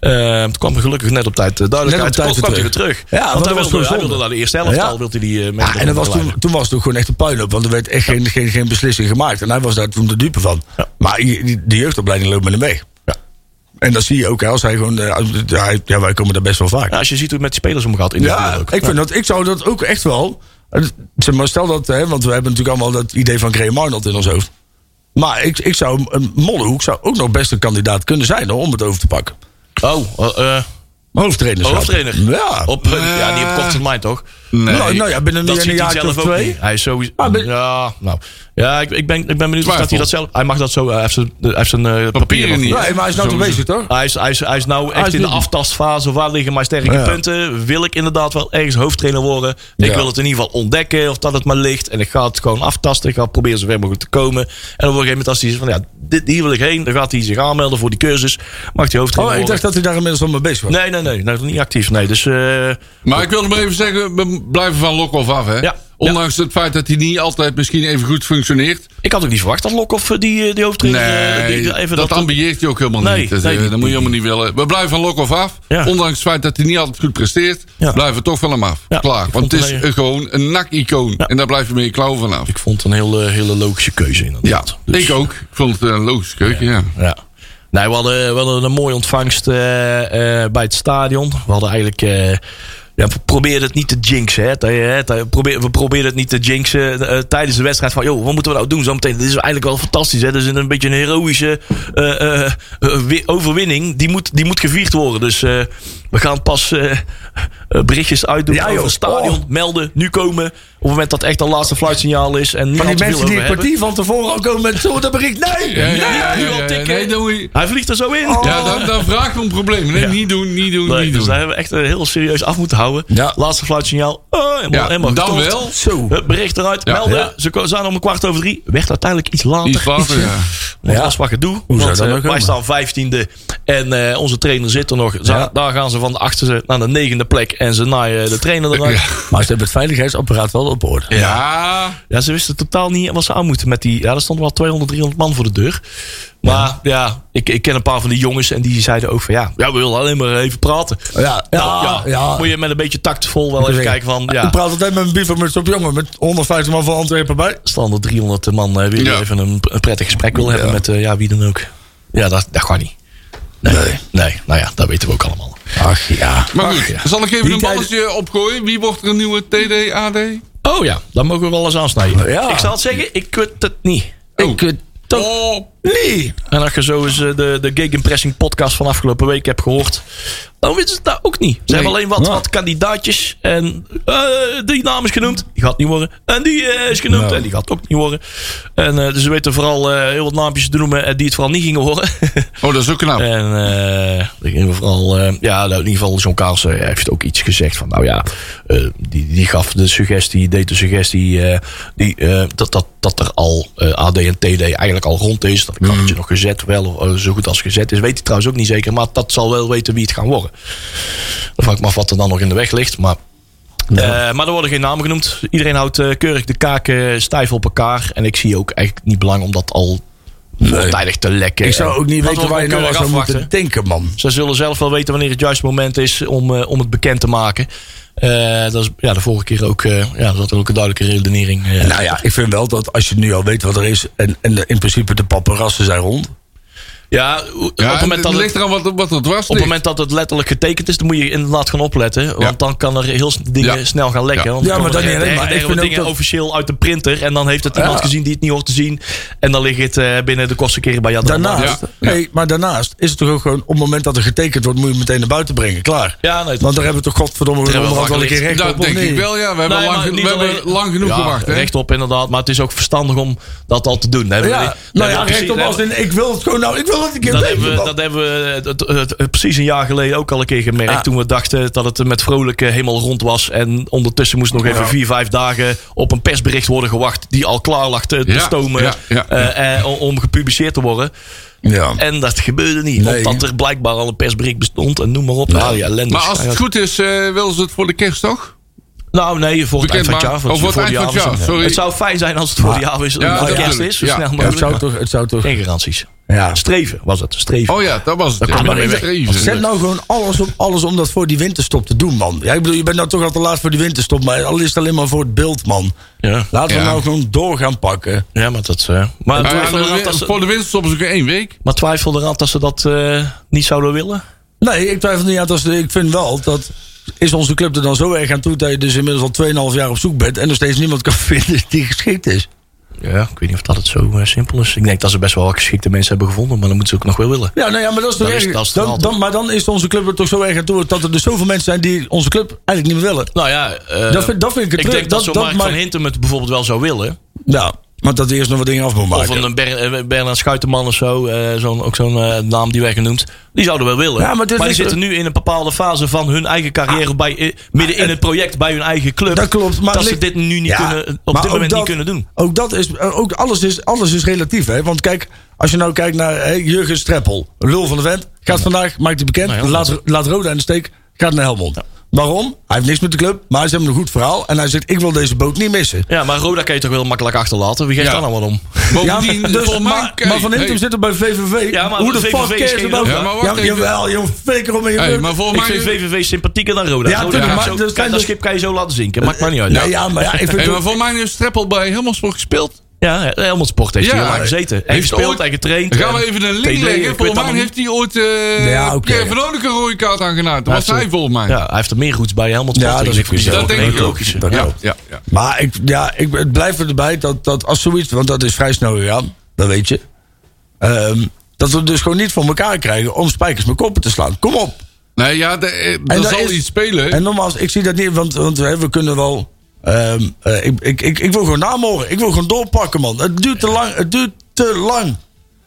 Speaker 2: Eh, toen kwam er gelukkig net op tijd eh, duidelijkheid.
Speaker 4: Net op tijd
Speaker 2: Toen kwam hij
Speaker 4: weer
Speaker 2: weer terug.
Speaker 4: Ja, want
Speaker 2: want
Speaker 4: dat
Speaker 2: hij
Speaker 4: was
Speaker 2: wilde, hij
Speaker 4: gewoon
Speaker 2: wilde
Speaker 4: zonde.
Speaker 2: naar de eerste helft
Speaker 4: Ja.
Speaker 2: al. Wilde die, eh, mee
Speaker 4: Ja, Ah, en dat was toen, toen was het ook gewoon echt een puinhoop. Want er werd echt geen, geen, geen beslissing gemaakt. En hij was daar toen de dupe van. Maar je- die- de jeugdopleiding loopt met hem mee. En dat zie je ook. hè, Als hij gewoon, eh, hij- ja, wij komen daar best wel vaak.
Speaker 2: Nou, Ja, als je ziet hoe het met die spelers omgaat. In de
Speaker 4: Ja,
Speaker 2: wereld ook.
Speaker 4: ik, vind dat, ik zou dat ook echt wel. eh, het- zeg maar, stel dat, hè, want we hebben natuurlijk allemaal dat idee van Graham Arnold in ons hoofd. Maar ik, ik zou, een Mollehoek zou ook nog best een kandidaat kunnen zijn hoor, om het over te pakken.
Speaker 2: Oh, eh, eh,
Speaker 4: Hoofdtrainer.
Speaker 2: hoofdtrainer.
Speaker 4: Ja.
Speaker 2: Op, eh, ja, die op korte termijn toch?
Speaker 3: Nee.
Speaker 4: nou, nou ja, binnen
Speaker 2: Dat
Speaker 4: een,
Speaker 2: ziet hij
Speaker 4: jaar of
Speaker 2: zelf ook
Speaker 4: twee.
Speaker 2: niet. Hij is sowieso...
Speaker 4: Ah, ben-
Speaker 2: ja, nou. ja ik, ik, ben, ik ben benieuwd of dat
Speaker 3: Twijfel.
Speaker 2: hij dat zelf... Hij mag dat zo... eh, Hij heeft zijn, eh, hij heeft zijn eh, papieren nog
Speaker 3: niet.
Speaker 2: niet.
Speaker 4: Nee, maar hij is nou te
Speaker 3: Sowieso.
Speaker 4: bezig toch?
Speaker 2: Hij is, hij, is, hij is nou echt in de aftastfase. Waar liggen mijn sterke
Speaker 4: Ja.
Speaker 2: punten? Wil ik inderdaad wel ergens hoofdtrainer worden? Ik
Speaker 4: Ja.
Speaker 2: wil het in ieder geval ontdekken of dat het maar ligt. En ik ga het gewoon aftasten. Ik ga proberen zover mogelijk te komen. En op een gegeven moment als hij zegt van ja, dit, hier wil ik heen. Dan gaat hij zich aanmelden voor die cursus. Mag hij
Speaker 4: Oh,
Speaker 2: hoofdtrainer
Speaker 4: ik dacht
Speaker 2: worden?
Speaker 4: dat hij daar inmiddels al mee bezig was.
Speaker 2: Nee, nee, nee. Nou, niet actief. Nee, dus... eh,
Speaker 3: Maar ik wilde maar even zeggen, we blijven van Lokhoff af, hè?
Speaker 2: Ja.
Speaker 3: Ondanks het feit dat hij niet altijd misschien even goed functioneert.
Speaker 2: ik had ook niet verwacht dat Lokhoff eh, die, eh, die hoofdtrainer... eh, die-
Speaker 3: Nee,
Speaker 2: die- even
Speaker 3: dat, ambieert hij ook helemaal
Speaker 2: Nee,
Speaker 3: niet. Dat,
Speaker 2: nee,
Speaker 3: eh,
Speaker 2: die-
Speaker 3: dat moet je helemaal niet willen. We blijven van Lokhoff af.
Speaker 2: Ja.
Speaker 3: Ondanks het feit dat hij niet altijd goed presteert,
Speaker 2: Ja.
Speaker 3: blijven we toch van hem af.
Speaker 2: Ja,
Speaker 3: Klaar.
Speaker 2: ik
Speaker 3: Want
Speaker 2: vond
Speaker 3: het
Speaker 2: het
Speaker 3: is
Speaker 2: een-
Speaker 3: eh, gewoon een nak-icoon. En daar blijf je met je klauw van af.
Speaker 2: Ik vond het een hele, hele logische keuze
Speaker 3: Ja,
Speaker 2: inderdaad. Dus-
Speaker 3: ik ook. Ik vond het een logische keuze, ja.
Speaker 2: Ja. Nee, we hadden, we hadden een mooie ontvangst eh, eh, bij het stadion. We hadden eigenlijk. eh, ja, we probeerden het niet te jinxen. Hè? Dat je- hè, dat je probeert- we probeerden het niet te jinxen eh, tijdens de wedstrijd. Van, joh, wat moeten we nou doen zometeen? Dit is eigenlijk wel fantastisch. Hè? Dit is een, een beetje een heroïsche eh, eh, eh, wi- overwinning. Die moet, die moet gevierd worden. Dus eh, we gaan pas eh, eh, berichtjes uitdoen
Speaker 4: Ja,
Speaker 2: over
Speaker 4: joh.
Speaker 2: het stadion.
Speaker 4: Oh.
Speaker 2: Melden, nu komen. Op het moment dat echt dat laatste fluitsignaal is. En
Speaker 4: Van die mensen die een kwartier van tevoren al komen met zo'n bericht. Nee!
Speaker 3: Ja,
Speaker 4: nee.
Speaker 3: ja, ja,
Speaker 2: nu al
Speaker 3: ja, ja.
Speaker 2: tikken.
Speaker 3: Nee, dan moet je-
Speaker 2: Hij vliegt er zo in.
Speaker 4: Oh.
Speaker 3: Ja, dan, dan vraag ik om problemen. Nee,
Speaker 2: Ja.
Speaker 3: niet doen, niet doen,
Speaker 2: Nee,
Speaker 3: niet
Speaker 2: dus
Speaker 3: doen.
Speaker 2: daar hebben we echt eh, heel serieus af moeten houden.
Speaker 4: Ja.
Speaker 2: Laatste fluitsignaal. Oh, helemaal,
Speaker 3: Ja,
Speaker 2: helemaal
Speaker 3: dan
Speaker 2: getoond.
Speaker 3: wel.
Speaker 4: Zo.
Speaker 2: Het bericht eruit.
Speaker 3: Ja.
Speaker 2: melden.
Speaker 3: Ja.
Speaker 2: Ze ko- zijn om een kwart over drie. Werd uiteindelijk iets later.
Speaker 3: Iets later, ja.
Speaker 2: Want
Speaker 4: Ja.
Speaker 2: dat is wat gedoe.
Speaker 4: Hoe zou
Speaker 2: want
Speaker 4: dat
Speaker 2: eh, wij
Speaker 4: nou komen?
Speaker 2: staan vijftiende. En eh, onze trainer zit er nog. Za-
Speaker 4: Ja.
Speaker 2: Daar gaan ze van de achterste naar de negende plek. En ze naaien eh, de trainer eruit. Ja.
Speaker 4: Maar ze hebben het veiligheidsapparaat wel op orde.
Speaker 3: Ja,
Speaker 2: ze wisten totaal niet wat ze aan moeten met die... Ja, er stonden wel 200, 300 man voor de deur. Maar ja, ik, ik ken een paar van die jongens. En die zeiden ook van ja, ja we willen alleen maar even praten.
Speaker 4: Ja, ja,
Speaker 2: Nou,
Speaker 4: ja. ja.
Speaker 2: Moet je met een beetje tactvol wel even kijken van... Ja.
Speaker 4: Ik praat altijd met een bievermuts op jongen. Met 150 man van Antwerpen bij.
Speaker 2: standaard 300 man eh, weer
Speaker 3: Ja.
Speaker 2: even een, een prettig gesprek wil hebben met eh, ja, wie dan ook. Ja, dat, dat gaat niet. Nee, nee. nou ja, dat weten we ook allemaal.
Speaker 4: Ach ja.
Speaker 3: maar goed. Zal ik even
Speaker 4: Die
Speaker 3: een
Speaker 4: tijd-
Speaker 3: balletje opgooien? Wie wordt er een nieuwe TD, AD?
Speaker 2: Oh ja, dat mogen we wel eens aansnijden.
Speaker 4: Ja.
Speaker 2: Ik zal het zeggen, ik kut het niet.
Speaker 4: Ik eh, toch
Speaker 3: Oh,
Speaker 4: niet.
Speaker 2: En als je zo eens eh, de, de Gig Impressing podcast van afgelopen week hebt gehoord, dan weten ze dat ook niet. Ze hebben alleen wat,
Speaker 4: Ja.
Speaker 2: wat kandidaatjes en eh, die naam is genoemd, die gaat niet worden. En die eh, is genoemd
Speaker 4: Nou.
Speaker 2: en die gaat ook niet worden. En eh, dus ze weten vooral eh, heel wat naampjes te noemen eh, die het vooral niet gingen horen. [LAUGHS]
Speaker 3: oh dat is ook knap.
Speaker 2: En eh, in ieder geval, eh, ja, nou, in ieder geval, John Carlsen eh, heeft ook iets gezegd van, nou ja, eh, die, die gaf de suggestie, deed de suggestie eh, die, eh, dat, dat, dat er al eh, AD en TD eigenlijk al rond is.
Speaker 4: Mhm.
Speaker 2: Dat karretje nog gezet, wel of, eh, zo goed als gezet is. Weet hij trouwens ook niet zeker, maar dat zal wel weten wie het gaan worden. Dan vraag ik me af wat er dan nog in de weg ligt, maar... eh, maar er worden geen namen genoemd. Iedereen houdt eh, keurig de kaken stijf op elkaar. En ik zie ook eigenlijk niet belang om dat al tijdig te lekken.
Speaker 4: Ik zou ook niet
Speaker 2: Dat
Speaker 4: weten
Speaker 2: we
Speaker 4: waar je nou
Speaker 2: keurig
Speaker 4: aan zou
Speaker 2: afwachten.
Speaker 4: moeten denken, man.
Speaker 2: Ze zullen zelf wel weten wanneer het juiste moment is om, eh, om het bekend te maken. Eh, dat is ja, de vorige keer ook, eh ja, dat ook een duidelijke redenering. eh.
Speaker 4: Nou ja, ik vind wel dat als je nu al weet wat er is... en, en de- in principe de paparazzen zijn rond...
Speaker 2: ja, op
Speaker 3: Ja,
Speaker 2: het moment dat het,
Speaker 3: het ligt eraan wat, wat er dwars
Speaker 2: op het
Speaker 3: ligt.
Speaker 2: moment dat het letterlijk getekend is, dan moet je inderdaad gaan opletten. Want dan kan er heel s- dingen
Speaker 3: Ja.
Speaker 2: snel gaan lekken.
Speaker 3: Ja.
Speaker 2: Want
Speaker 4: Ja, maar
Speaker 2: komen
Speaker 4: dat
Speaker 2: er
Speaker 4: niet
Speaker 2: echt-
Speaker 4: alleen,
Speaker 2: echt
Speaker 4: maar ik
Speaker 2: erge
Speaker 4: vind ook
Speaker 2: dingen
Speaker 4: dat-
Speaker 2: officieel uit de printer. En dan heeft het iemand
Speaker 4: Ja.
Speaker 2: gezien die het niet hoort te zien. En dan ligt het eh, binnen de kortste keren bij jou.
Speaker 4: Daarnaast,
Speaker 3: Ja, ja.
Speaker 4: Nee, maar daarnaast is het toch ook gewoon... op het moment dat er getekend wordt, moet je het meteen naar buiten brengen. Klaar.
Speaker 2: Ja, nee, dat-
Speaker 4: Want daar hebben we toch godverdomme
Speaker 2: hebben we Nou,
Speaker 4: onderhand wel een keer recht
Speaker 3: Dat
Speaker 4: op, of
Speaker 3: denk ik
Speaker 4: niet?
Speaker 3: wel, ja. We hebben,
Speaker 2: Nee,
Speaker 3: lang,
Speaker 2: maar
Speaker 3: geno-
Speaker 2: niet
Speaker 3: we hebben
Speaker 2: alleen-
Speaker 3: lang genoeg
Speaker 2: Ja,
Speaker 3: gewacht, hè?
Speaker 2: Rechtop inderdaad, maar het is ook verstandig om dat al te doen. Daar hebben we-
Speaker 4: Ja,
Speaker 2: daar
Speaker 4: nou ja,
Speaker 2: hebben we precies-
Speaker 4: rechtop als in... ik wil het gewoon nou, ik wil het een keer
Speaker 2: Dat
Speaker 4: weten,
Speaker 2: hebben, we,
Speaker 4: man.
Speaker 2: dat hebben we het- het- het- het precies een jaar geleden ook al een keer gemerkt.
Speaker 4: Ah.
Speaker 2: Toen we dachten dat het met vrolijk eh, helemaal rond was. En ondertussen moest nog even vier, vijf dagen op een persbericht worden gewacht. Die al klaar lag te, te
Speaker 3: Ja,
Speaker 2: stomen
Speaker 3: ja, ja, ja.
Speaker 2: eh, eh, om- om gepubliceerd te worden.
Speaker 4: Ja.
Speaker 2: En dat gebeurde niet.
Speaker 4: Nee.
Speaker 2: Omdat er blijkbaar al een persbericht bestond. En noem maar op. Nou, die ellendes.
Speaker 3: Maar als het goed is, eh willen ze het voor de kerst toch?
Speaker 2: nou nee, voor het eind van het
Speaker 3: Bekendbaar.
Speaker 2: jaar.
Speaker 3: Oh, voor het
Speaker 2: de
Speaker 3: eind van het
Speaker 2: jaar
Speaker 3: jaar,
Speaker 2: is-
Speaker 3: sorry.
Speaker 2: Het zou fijn zijn als het voor het jaar is.
Speaker 3: Ja,
Speaker 2: Ja, de kerst
Speaker 3: natuurlijk.
Speaker 2: is. Zo
Speaker 3: Ja.
Speaker 2: snel
Speaker 3: Ja,
Speaker 4: Ja, het
Speaker 2: mogelijk.
Speaker 4: zou toch... Het zou toch
Speaker 2: Geen garanties.
Speaker 4: ja.
Speaker 2: Streven was het. Streven.
Speaker 3: Oh ja, dat was het.
Speaker 2: Dat
Speaker 3: ja.
Speaker 2: kan maar
Speaker 3: Ja,
Speaker 2: niet.
Speaker 3: Reven.
Speaker 4: Zet nou gewoon alles op alles om dat voor die winterstop te doen, man. Ja, ik bedoel, je bent nou toch al te laat voor die winterstop, maar al is het alleen maar voor het beeld, man.
Speaker 2: Ja.
Speaker 4: Laten we
Speaker 3: Ja.
Speaker 4: nou gewoon door gaan pakken.
Speaker 2: ja, maar dat... eh, maar
Speaker 3: Maar ja,
Speaker 2: twijfel
Speaker 3: de
Speaker 2: eraan
Speaker 3: win-
Speaker 2: dat ze-
Speaker 3: voor de winst stoppen ze ook in één week.
Speaker 2: Maar twijfel eraan dat ze dat eh, niet zouden willen?
Speaker 4: Nee, ik twijfel niet aan. Dat ze- ik vind wel dat is onze club er dan zo erg aan toe dat je dus inmiddels al 2,5 jaar op zoek bent en nog steeds niemand kan [LAUGHS] vinden die geschikt is.
Speaker 2: Ja, ik weet niet of dat het zo eh, simpel is. Ik denk dat ze best wel geschikte mensen hebben gevonden, maar dan moeten ze ook nog wel willen.
Speaker 4: Ja, nou ja, maar dat is toch
Speaker 2: Dat is-
Speaker 4: erg.
Speaker 2: dat is het
Speaker 4: dan,
Speaker 2: verhaal,
Speaker 4: dan-
Speaker 2: toch?
Speaker 4: maar dan is onze club er toch zo erg aan toe dat er dus zoveel mensen zijn die onze club eigenlijk niet meer willen.
Speaker 2: Nou ja, eh,
Speaker 4: dat, vind, dat vind ik het
Speaker 2: ik
Speaker 4: terug.
Speaker 2: denk dat, zo Mark
Speaker 4: maakt-
Speaker 2: van Hintem het bijvoorbeeld wel zou willen.
Speaker 4: Ja, want Nou, dat hij eerst nog wat dingen af moet
Speaker 2: Of
Speaker 4: maken.
Speaker 2: een Ber- eh, Bernard Schuiterman of zo, eh, zo'n, ook zo'n eh, naam die wij genoemd. Die zouden wel willen.
Speaker 4: Ja, maar dit
Speaker 2: die
Speaker 4: is-
Speaker 2: zitten nu in een bepaalde fase van hun eigen carrière, bij, eh, midden in het project bij hun eigen club.
Speaker 4: Ah, Dat klopt, maar
Speaker 2: dat ze
Speaker 4: ligt-
Speaker 2: dit nu niet
Speaker 4: Ja,
Speaker 2: kunnen,
Speaker 4: maar
Speaker 2: op dit
Speaker 4: ook
Speaker 2: moment
Speaker 4: dat-
Speaker 2: niet kunnen doen.
Speaker 4: Ook dat is, eh, ook alles is, alles is relatief. Hè? Want kijk, als je nou kijkt naar hè, Jurgen Streppel, lul van de vent, gaat vandaag, maakt hij bekend,
Speaker 2: Nou ja,
Speaker 4: laat, laat Roda in de steek, gaat naar Helmond. Waarom? Hij heeft niks met de club, maar ze hebben een goed verhaal en hij zegt: Ik wil deze boot niet missen.
Speaker 2: Ja, maar Roda kan je toch wel makkelijk achterlaten? Wie geeft
Speaker 3: Ja.
Speaker 2: daar nou wat om?
Speaker 3: Bovendien,
Speaker 4: maar- dus-
Speaker 3: volgens mij-
Speaker 4: maar,
Speaker 3: Hey,
Speaker 4: maar Van Hintem
Speaker 3: hey.
Speaker 4: zit er bij VVV.
Speaker 2: Ja, maar
Speaker 4: Hoe de
Speaker 2: VVV
Speaker 4: fuck
Speaker 2: is
Speaker 4: cares
Speaker 2: geen
Speaker 4: about
Speaker 2: Roda.
Speaker 4: that?
Speaker 3: Ja, maar wacht
Speaker 4: Ja,
Speaker 3: even.
Speaker 4: jawel, joh, flikker om in je
Speaker 3: Hey,
Speaker 4: rug.
Speaker 3: maar
Speaker 4: Nee,
Speaker 3: volgens
Speaker 2: Ik
Speaker 3: mij...
Speaker 2: vind VVV sympathieker dan Roda.
Speaker 4: Ja,
Speaker 2: Roda
Speaker 4: tuurlijk,
Speaker 2: kan
Speaker 4: maar
Speaker 2: zo-
Speaker 4: dus
Speaker 2: kan-
Speaker 4: zijn
Speaker 2: dat
Speaker 4: er-
Speaker 2: schip kan je zo laten zinken. Maakt maar niet uit.
Speaker 4: ja, maar ja, ik vind
Speaker 3: Hey,
Speaker 4: het-
Speaker 3: maar voor mij heeft Streppel bij Helmelsport gespeeld.
Speaker 2: Ja, Helmond Sport heeft
Speaker 3: Ja,
Speaker 2: hier lang
Speaker 3: hij
Speaker 2: gezeten. Hij
Speaker 3: heeft
Speaker 2: gespeeld,
Speaker 3: ooit-
Speaker 2: hij getraind.
Speaker 3: Gaan we
Speaker 4: Eh,
Speaker 2: en
Speaker 3: even een
Speaker 2: TD,
Speaker 3: link
Speaker 2: ik
Speaker 3: leggen.
Speaker 2: weet
Speaker 3: Volgens mij
Speaker 2: allemaal
Speaker 3: heeft hij ooit eh
Speaker 4: Ja, oké.
Speaker 3: Pierre van Oudijk een rode kaart aangedaan. Dat
Speaker 2: Ja,
Speaker 3: was hij
Speaker 2: zo.
Speaker 3: volgens mij.
Speaker 2: niet. Ja, hij heeft er meer goeds bij Helmond Sport.
Speaker 4: Ja, dat
Speaker 2: Dus
Speaker 4: is
Speaker 2: ik vind
Speaker 4: goed.
Speaker 2: die
Speaker 3: Dat
Speaker 2: zelf ook
Speaker 3: denk ik
Speaker 2: een
Speaker 3: ook.
Speaker 2: logische.
Speaker 4: Dat
Speaker 3: ja,
Speaker 4: klopt.
Speaker 3: ja, ja.
Speaker 4: Maar ik, ja, ik, het blijft erbij dat, dat als zoiets, want dat is vrij snel gegaan, dat weet je. Ehm, dat we het dus gewoon niet voor elkaar krijgen om spijkers met koppen te slaan. Kom op.
Speaker 3: Nee, ja, de- eh, er
Speaker 4: dat
Speaker 3: zal
Speaker 4: is-
Speaker 3: iets spelen.
Speaker 4: En nogmaals, ik zie dat niet, want, want hè, we kunnen wel. ehm, eh, ik, ik, ik, ik wil gewoon namoren. Ik wil gewoon doorpakken, man. Het duurt te lang. Het duurt te lang.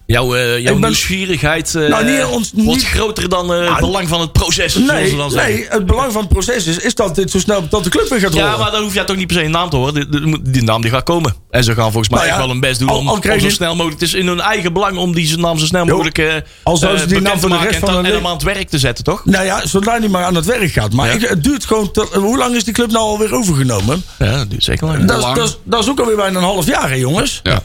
Speaker 2: Jouw, eh, jouw
Speaker 4: Ik ben-
Speaker 2: nieuwsgierigheid eh,
Speaker 4: Nou, niet ons-
Speaker 2: wordt
Speaker 4: niet-
Speaker 2: groter dan eh, het
Speaker 4: Ah,
Speaker 2: belang van het proces. zoals
Speaker 4: Nee,
Speaker 2: ze dan zeggen.
Speaker 4: nee, het belang van het proces is, is dat dit zo snel dat de club weer gaat rollen.
Speaker 2: Ja, maar dan hoef je toch niet per se een naam te horen. Die, die- die naam die gaat komen. En ze gaan volgens mij
Speaker 4: Nou ja,
Speaker 2: echt wel hun best doen
Speaker 4: al-
Speaker 2: om,
Speaker 4: al
Speaker 2: om
Speaker 4: krijg
Speaker 2: zo
Speaker 4: je-
Speaker 2: snel mogelijk... Het is in hun eigen belang om die naam zo snel
Speaker 4: Jo,
Speaker 2: mogelijk eh
Speaker 4: al zouden ze
Speaker 2: eh,
Speaker 4: die naam
Speaker 2: bekend
Speaker 4: voor de
Speaker 2: te maken
Speaker 4: rest
Speaker 2: en
Speaker 4: van
Speaker 2: dan-
Speaker 4: hun
Speaker 2: en hem
Speaker 4: le-
Speaker 2: aan het werk te zetten, toch?
Speaker 4: Nou ja, zodra hij maar aan het werk gaat. Maar
Speaker 2: Ja.
Speaker 4: ik, het duurt gewoon. te- hoe lang is die club nou alweer overgenomen?
Speaker 2: Ja, dat duurt zeker lang.
Speaker 4: Dat, is-
Speaker 3: lang.
Speaker 4: dat, is- dat is ook alweer bijna een half jaar, hè, jongens.
Speaker 3: ja.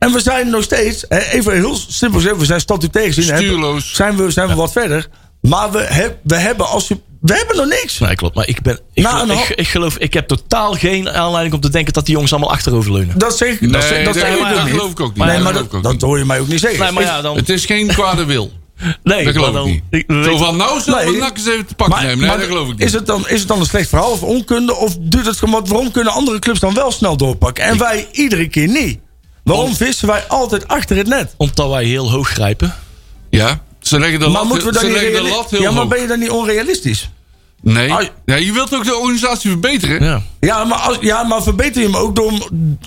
Speaker 4: En we zijn nog steeds, hè, even heel simpel gezegd, we zijn statutair gezien. hebben-
Speaker 3: Stuurloos.
Speaker 4: Zijn we, zijn we wat verder. Maar we, heb- we hebben als je- we hebben nog niks.
Speaker 2: Nee, klopt. Maar ik ben... Ik,
Speaker 4: Nou,
Speaker 2: geloof-
Speaker 4: nou-
Speaker 2: ik, ik geloof... Ik heb totaal geen aanleiding om te denken dat die jongens allemaal achteroverleunen.
Speaker 4: Dat zeg ik. dat, zeg-
Speaker 3: Nee,
Speaker 4: dat,
Speaker 3: nee,
Speaker 4: zeg ik
Speaker 3: maar
Speaker 4: ook
Speaker 3: dat
Speaker 4: niet.
Speaker 3: geloof ik ook niet.
Speaker 4: Nee,
Speaker 3: Dat
Speaker 4: maar
Speaker 3: geloof ik
Speaker 4: dat,
Speaker 3: ook
Speaker 4: dat
Speaker 3: niet.
Speaker 4: hoor je mij ook niet zeggen.
Speaker 2: Nee, maar ja, dan...
Speaker 3: Het is geen kwade wil.
Speaker 2: nee,
Speaker 3: Dat
Speaker 2: maar
Speaker 3: geloof
Speaker 2: dan-
Speaker 3: ik niet.
Speaker 2: we
Speaker 3: Zo
Speaker 2: weten-
Speaker 3: van, nou zullen we
Speaker 4: Nee.
Speaker 3: nakkers even te pakken
Speaker 4: Maar-
Speaker 3: nemen. Nee,
Speaker 4: maar
Speaker 3: dat geloof ik
Speaker 4: Is
Speaker 3: niet.
Speaker 4: het, dan, is het dan een slecht verhaal of onkunde? Of duurt het gewoon? Want waarom kunnen andere clubs dan wel snel doorpakken? En wij iedere keer niet. Waarom vissen wij altijd achter het net?
Speaker 2: Omdat wij heel hoog grijpen.
Speaker 3: Ja, ze leggen de
Speaker 4: Maar
Speaker 3: lat,
Speaker 4: moeten we
Speaker 3: ze
Speaker 4: dan niet
Speaker 3: leggen de
Speaker 4: reali-
Speaker 3: lat heel
Speaker 4: Ja, maar
Speaker 3: hoog.
Speaker 4: ben je dan niet onrealistisch?
Speaker 3: Nee.
Speaker 4: Ai.
Speaker 3: Ja, je wilt ook de organisatie verbeteren.
Speaker 2: Ja.
Speaker 4: Ja maar, als, ja, maar verbeter je hem ook door hem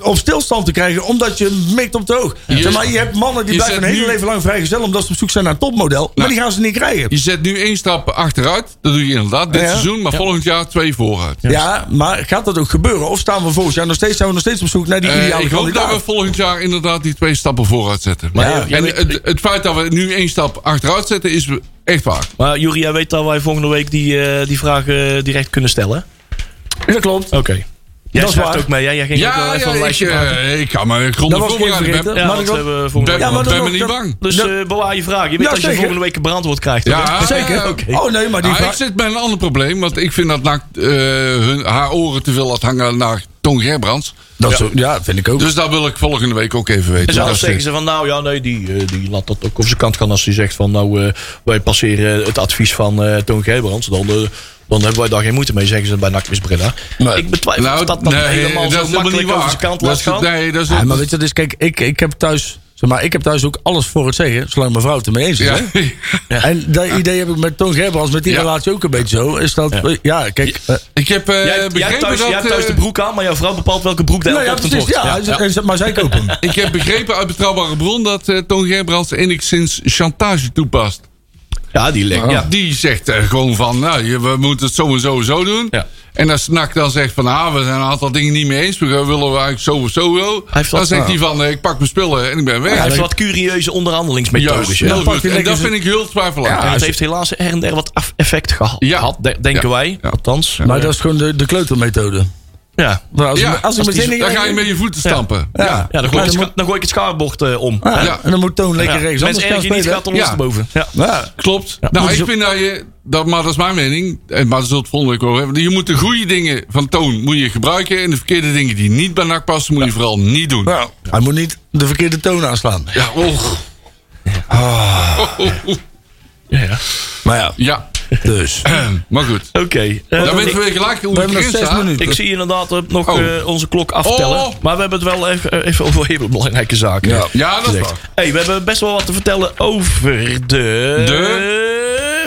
Speaker 4: op stilstand te krijgen, omdat je hem mikt op de hoog. Zeg maar, je hebt mannen die
Speaker 3: Je
Speaker 4: blijven
Speaker 3: zet
Speaker 4: hun hele
Speaker 3: nu- Nou,
Speaker 4: leven lang vrijgezel, omdat ze op zoek zijn naar een topmodel, maar die gaan ze niet krijgen.
Speaker 3: Je zet nu één stap achteruit. Dat doe je inderdaad dit
Speaker 4: Ja.
Speaker 3: seizoen. Maar volgend jaar twee vooruit.
Speaker 4: Ja, maar gaat dat ook gebeuren? Of staan we volgend jaar nog steeds, zijn we nog steeds op zoek naar die
Speaker 3: Eh,
Speaker 4: ideale
Speaker 3: ik hoop
Speaker 4: kandidaat?
Speaker 3: dat we volgend jaar inderdaad die twee stappen vooruit zetten.
Speaker 4: Ja.
Speaker 3: en het, het feit dat we nu één stap achteruit zetten is echt waar.
Speaker 2: Maar Juri, jij weet dat wij volgende week die, eh, die vragen eh, direct kunnen stellen.
Speaker 4: Dat klopt.
Speaker 2: Oké. Jij
Speaker 4: Dat is
Speaker 2: schrijft
Speaker 4: waar.
Speaker 2: ook mee. Jij, jij ging ook wel
Speaker 3: Ja,
Speaker 2: even
Speaker 3: ja
Speaker 2: een
Speaker 3: ik,
Speaker 2: lijstje maken.
Speaker 3: eh, ik ga maar grondig
Speaker 4: Dat was ik even
Speaker 3: voorbereiden. Ik
Speaker 4: vergeten.
Speaker 3: ben-
Speaker 2: Ja,
Speaker 4: maar
Speaker 2: want
Speaker 4: ik
Speaker 2: we
Speaker 4: wil-
Speaker 2: hebben volgende
Speaker 3: ben,
Speaker 2: week...
Speaker 4: Ja, maar
Speaker 3: ben
Speaker 4: dan
Speaker 3: me niet
Speaker 4: nog- dan-
Speaker 3: bang.
Speaker 2: Dus
Speaker 4: Ja.
Speaker 2: eh, bewaar je vragen. Je weet
Speaker 4: Ja,
Speaker 2: dat je
Speaker 4: zeker.
Speaker 2: volgende week een brandwoord krijgt.
Speaker 3: Ja,
Speaker 2: [LAUGHS] hè?
Speaker 4: Zeker.
Speaker 3: ja,
Speaker 2: oké.
Speaker 4: Oh nee, maar die
Speaker 3: Ah, ik
Speaker 4: vraag...
Speaker 3: zit bij een ander probleem, want ik vind dat Naakt eh, hun, haar oren te veel laat hangen naar Toon Gerbrands.
Speaker 4: Dat ja. ja, vind ik ook.
Speaker 3: Dus dat wil ik volgende week ook even weten.
Speaker 2: En
Speaker 3: Dat
Speaker 2: zelfs
Speaker 3: is-
Speaker 2: zeggen ze van, nou ja, nee, die, eh, die laat dat ook op zijn kant gaan. Als hij zegt van, nou, eh, wij passeren het advies van eh, Toon Gerbrands. Dan, eh, dan hebben wij daar geen moeite mee, zeggen ze bij NAC Miss Breda.
Speaker 4: Nee.
Speaker 2: Ik betwijfel
Speaker 3: Nou,
Speaker 2: of dat dan
Speaker 3: nee,
Speaker 2: helemaal
Speaker 3: dat
Speaker 2: zo
Speaker 3: is helemaal
Speaker 2: makkelijk
Speaker 3: niet
Speaker 2: over
Speaker 3: waar.
Speaker 2: zijn kant
Speaker 3: Dat
Speaker 2: laat
Speaker 3: is-
Speaker 2: gaan.
Speaker 3: Nee, dat is
Speaker 4: Ja, maar weet je, dus kijk, ik, ik heb thuis... Zeg maar, ik heb thuis ook alles voor het zeggen, zolang mijn vrouw het ermee eens is.
Speaker 3: Ja.
Speaker 4: Hè? En dat idee heb ik met Toon Gerbrands, met die
Speaker 3: Ja.
Speaker 4: relatie ook een beetje zo. Is dat, ja, kijk... eh,
Speaker 3: [LAUGHS] Ik heb eh,
Speaker 2: Jij, hebt- jij, hebt
Speaker 3: begrepen
Speaker 2: thuis,
Speaker 3: dat...
Speaker 2: jij hebt thuis de
Speaker 3: eh,
Speaker 2: broek aan, maar jouw vrouw bepaalt welke broek daar
Speaker 4: nou
Speaker 2: elke
Speaker 4: ja,
Speaker 2: ochtend
Speaker 4: precies,
Speaker 2: wordt.
Speaker 4: ja, en ze- maar zij kopen hem.
Speaker 3: Ik heb begrepen uit betrouwbare bron dat eh Toon Gerbrands enigszins chantage toepast.
Speaker 2: Ja, die
Speaker 3: Ah.
Speaker 2: lek. Ja.
Speaker 3: Die zegt eh, gewoon van, nou, je- we moeten het zo en zo en zo doen.
Speaker 2: Ja.
Speaker 3: En als NAC dan zegt van, ah, we zijn een aantal dingen niet mee eens. We willen we eigenlijk zo of zo wil.
Speaker 2: heeft
Speaker 3: Dan
Speaker 2: wat-
Speaker 3: zegt hij
Speaker 2: ah.
Speaker 3: van, eh, ik pak mijn spullen en ik ben weg.
Speaker 2: Hij heeft
Speaker 3: Juist,
Speaker 2: wat curieuze onderhandelingsmethodes. ja.
Speaker 3: heel
Speaker 4: pakt
Speaker 3: goed.
Speaker 4: hij
Speaker 3: En
Speaker 4: lekker
Speaker 3: dat
Speaker 4: zijn-
Speaker 3: vind ik heel
Speaker 2: En
Speaker 3: twijfelachtig.
Speaker 2: het heeft helaas her en der wat af- effect geha-
Speaker 3: Ja.
Speaker 2: gehad, de- denken
Speaker 3: Ja.
Speaker 2: wij.
Speaker 3: Ja.
Speaker 2: Althans.
Speaker 4: Maar dat is gewoon de, de kleutermethode.
Speaker 2: Ja.
Speaker 4: Nou, Als,
Speaker 3: Ja,
Speaker 4: ik- als ik
Speaker 3: als
Speaker 4: mijn
Speaker 3: die-
Speaker 4: zin niet
Speaker 3: dan ga
Speaker 4: krijg-
Speaker 3: je met je voeten stampen.
Speaker 4: Ja,
Speaker 2: Ja, dan gooi, ik, het scha- dan gooi ik het schaarbocht eh, om.
Speaker 4: Ja,
Speaker 2: Ja.
Speaker 3: Ja.
Speaker 4: En dan moet Toon lekker rechts
Speaker 2: Mensen
Speaker 4: anders gaan
Speaker 2: erg je niet
Speaker 4: spelen.
Speaker 2: gaat ondersteboven. Ja.
Speaker 4: Ja.
Speaker 3: Klopt.
Speaker 4: moet
Speaker 3: nou, ik
Speaker 4: je zo-
Speaker 3: vind dat je, dat, maar dat is mijn mening, en maar dat zult het volgende week wel hebben. Je moet de goede dingen van Toon moet je gebruiken. En de verkeerde dingen die niet bij NAC passen, moet je vooral niet doen. Oh.
Speaker 4: Nou, hij moet niet de verkeerde toon aanslaan.
Speaker 3: Ja, och.
Speaker 2: Ja.
Speaker 4: Maar ja,
Speaker 3: Ja.
Speaker 4: Dus.
Speaker 3: Maar goed,
Speaker 2: Oké. eh,
Speaker 3: dan
Speaker 2: ik-
Speaker 3: weten we gelijk hoe
Speaker 4: We
Speaker 3: het
Speaker 4: hebben nog
Speaker 3: erin
Speaker 4: zes
Speaker 3: staat.
Speaker 4: minuten.
Speaker 2: Ik zie inderdaad eh, nog
Speaker 3: Oh.
Speaker 2: eh, onze klok aftellen.
Speaker 3: Oh.
Speaker 2: Maar we hebben het wel even, eh, even over hele belangrijke zaken.
Speaker 4: Ja.
Speaker 3: Ja, dat is
Speaker 2: gezegd.
Speaker 3: waar.
Speaker 2: Hey, we hebben best wel wat te vertellen over de...
Speaker 3: De?